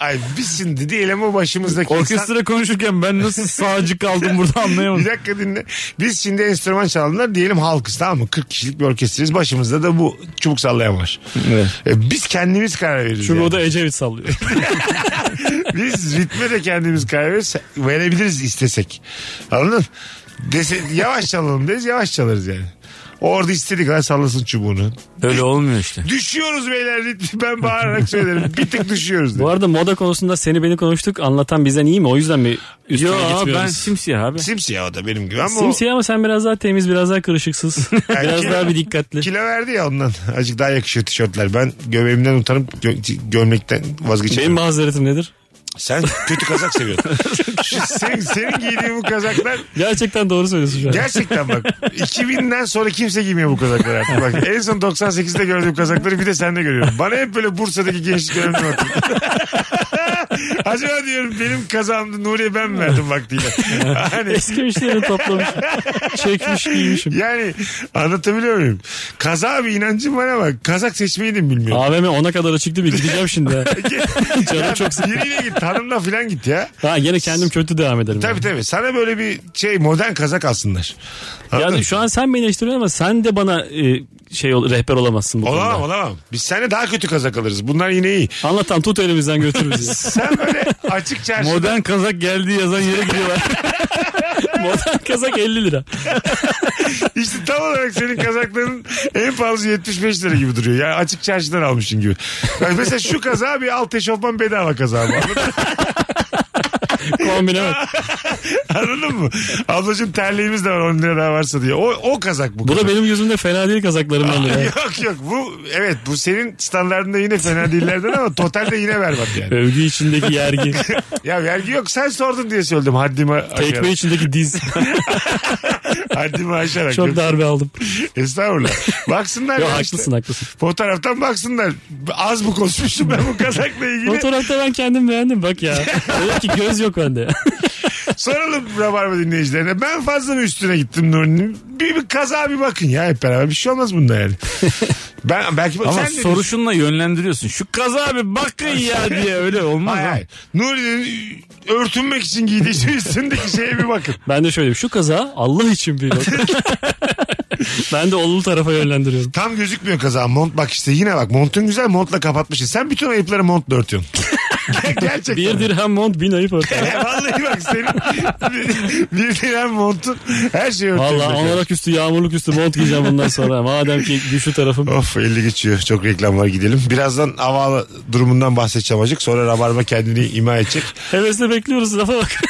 [SPEAKER 1] Ay biz şimdi diyelim o başımızdaki insan...
[SPEAKER 2] Orkestra konuşurken ben nasıl sağcı kaldım burada
[SPEAKER 1] Bir
[SPEAKER 2] anlayamadım.
[SPEAKER 1] dakika dinle. Biz şimdi enstrüman çaldılar diyelim halkız tamam mı? 40 kişilik bir orkestrayız. Başımızda da bu çubuk sallayan var. E, biz kendimiz karar veririz. yani.
[SPEAKER 3] Çubuğu da Ecevit sallıyor.
[SPEAKER 1] Biz ritme de kendimiz karar veririz- verebiliriz istesek. Anladın? Dese, yavaş çalalım deriz yavaş çalarız yani. Orada istediği kadar sallasın çubuğunu.
[SPEAKER 2] Öyle olmuyor işte.
[SPEAKER 1] Düşüyoruz beyler ritmi ben bağırarak söylerim. Bir tık düşüyoruz.
[SPEAKER 3] Bu
[SPEAKER 1] derim.
[SPEAKER 3] arada moda konusunda seni beni konuştuk. Anlatan bizden iyi mi? O yüzden mi üstüne
[SPEAKER 2] Yo ben
[SPEAKER 3] gitmiyoruz?
[SPEAKER 2] simsiyah abi.
[SPEAKER 1] Simsiyah o da benim gibi ama o-
[SPEAKER 3] Simsiyah ama sen biraz daha temiz, biraz daha kırışıksız. biraz daha bir dikkatli.
[SPEAKER 1] Kilo verdi ya ondan. Azıcık daha yakışıyor tişörtler. Ben göbeğimden utanıp gö- gömlekten
[SPEAKER 3] Benim
[SPEAKER 1] vazgeçemiyorum.
[SPEAKER 3] mazeretim nedir?
[SPEAKER 1] Sen kötü kazak seviyorsun. Şu senin, senin giydiğin bu kazaklar
[SPEAKER 3] Gerçekten doğru söylüyorsun şu an.
[SPEAKER 1] gerçekten bak 2000'den sonra kimse giymiyor bu kazakları artık. Bak en son 98'de gördüğüm kazakları bir de sende görüyorum. Bana hep böyle Bursa'daki gençlik dönemde bakıyor. Acaba diyorum benim kazağımda Nuri'ye ben mi verdim vaktiyle? Hani
[SPEAKER 3] Eski müşterileri toplamışım. Çekmiş giymişim.
[SPEAKER 1] yani anlatabiliyor muyum? Kazağa bir inancım var ama kazak seçmeyi de bilmiyorum.
[SPEAKER 3] AVM ona kadar açıktı bir gideceğim şimdi. ha. Canım çok sıkıldı.
[SPEAKER 1] Biriyle git hanımla filan git ya.
[SPEAKER 3] Ha yine kendim kötü devam ederim.
[SPEAKER 1] Tabii tabii. Sana böyle bir şey modern kazak alsınlar.
[SPEAKER 3] yani.
[SPEAKER 1] Anladın
[SPEAKER 3] Yani
[SPEAKER 1] mı?
[SPEAKER 3] şu an sen beni eleştiriyorsun ama sen de bana e, şey ol, rehber olamazsın bu konuda.
[SPEAKER 1] Olamam olamam. Biz seninle daha kötü kazak alırız. Bunlar yine iyi.
[SPEAKER 3] Anlatan tut elimizden götür bizi.
[SPEAKER 1] Sen böyle açık çarşıda
[SPEAKER 2] Modern kazak geldi yazan yere gidiyorlar.
[SPEAKER 3] Modern kazak 50 lira.
[SPEAKER 1] işte tam olarak senin kazakların en pahalısı 75 lira gibi duruyor. Yani açık çarşıdan almışsın gibi. Yani mesela şu kazağı bir alt eşofman bedava kazağı mı? Anladın-
[SPEAKER 3] Kombine bak.
[SPEAKER 1] Anladın mı? Ablacığım terliğimiz de var 10 lira daha varsa diye. O, o kazak bu.
[SPEAKER 3] Bu da
[SPEAKER 1] kazak.
[SPEAKER 3] benim gözümde fena değil kazaklarımdan biri.
[SPEAKER 1] Yok yok bu evet bu senin standartında yine fena değillerden ama totalde yine berbat yani.
[SPEAKER 3] Övgü içindeki yergi.
[SPEAKER 1] Ya vergi yok sen sordun diye söyledim haddimi aşarak.
[SPEAKER 3] Tekme içindeki diz.
[SPEAKER 1] Haddimi aşarak.
[SPEAKER 3] Çok darbe aldım.
[SPEAKER 1] Estağfurullah. Baksınlar
[SPEAKER 3] Yo,
[SPEAKER 1] ya
[SPEAKER 3] haklısın
[SPEAKER 1] işte.
[SPEAKER 3] haklısın.
[SPEAKER 1] Fotoğraftan baksınlar. Az mı konuşmuşum ben bu kazakla ilgili?
[SPEAKER 3] Fotoğrafta ben kendim beğendim bak ya. Dedim ki göz yok bende.
[SPEAKER 1] Soralım Rabarba dinleyicilerine. Ben fazla mı üstüne gittim Nuri'nin? Bir, bir kaza bir bakın ya hep beraber. Bir şey olmaz bunda yani. ben belki bak-
[SPEAKER 2] Ama
[SPEAKER 1] sen de-
[SPEAKER 2] soru şunla yönlendiriyorsun. Şu kaza bir bakın ya diye öyle olmaz.
[SPEAKER 1] Hayır
[SPEAKER 2] ha.
[SPEAKER 1] hayır. Nuri'nin örtünmek için giydiği şey üstündeki şeye bir bakın.
[SPEAKER 3] Ben de şöyle şu kaza Allah için bir bak. ben de olumlu tarafa yönlendiriyorum.
[SPEAKER 1] Tam gözükmüyor kaza. Mont bak işte yine bak. Montun güzel montla kapatmışsın. Sen bütün ayıpları montla örtüyorsun. Ger- Gerçekten.
[SPEAKER 3] Bir dirhem mont bin ayıp ortaya.
[SPEAKER 1] E, Vallahi bak senin bir- bir diren montun her şeyi örtüyorsun.
[SPEAKER 3] Valla onarak üstü yağmurluk üstü mont giyeceğim bundan sonra. Madem ki güçlü tarafım.
[SPEAKER 1] Of 50 geçiyor. Çok reklam var gidelim. Birazdan hava durumundan bahsedeceğim azıcık. Sonra Rabarba kendini ima edecek.
[SPEAKER 3] Hevesle bekliyoruz lafa bak.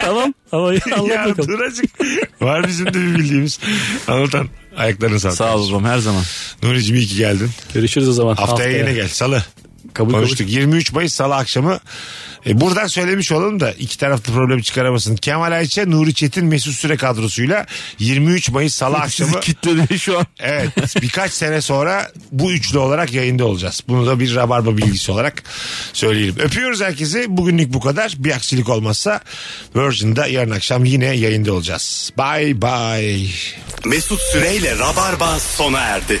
[SPEAKER 3] tamam. Ama Allah
[SPEAKER 1] ya
[SPEAKER 3] bakalım.
[SPEAKER 1] dur azıcık. Var bizim de bir bildiğimiz. Anlatan ayaklarını sağlık.
[SPEAKER 2] Sağ ol babam her zaman.
[SPEAKER 1] Nuri'cim iyi ki geldin.
[SPEAKER 3] Görüşürüz o zaman.
[SPEAKER 1] Haftaya, yine gel. Salı.
[SPEAKER 3] Kabul kabul.
[SPEAKER 1] Konuştuk. 23 Mayıs Salı akşamı. E, buradan söylemiş olalım da iki taraflı problemi çıkaramasın. Kemal Ayça, Nuri Çetin, Mesut Süre kadrosuyla 23 Mayıs Salı akşamı.
[SPEAKER 2] Sizi kitledi şu an.
[SPEAKER 1] Evet birkaç sene sonra bu üçlü olarak yayında olacağız. Bunu da bir rabarba bilgisi olarak söyleyelim. Öpüyoruz herkesi. Bugünlük bu kadar. Bir aksilik olmazsa Virgin'da yarın akşam yine yayında olacağız. Bye bye.
[SPEAKER 5] Mesut Süreyle Rabarba sona erdi.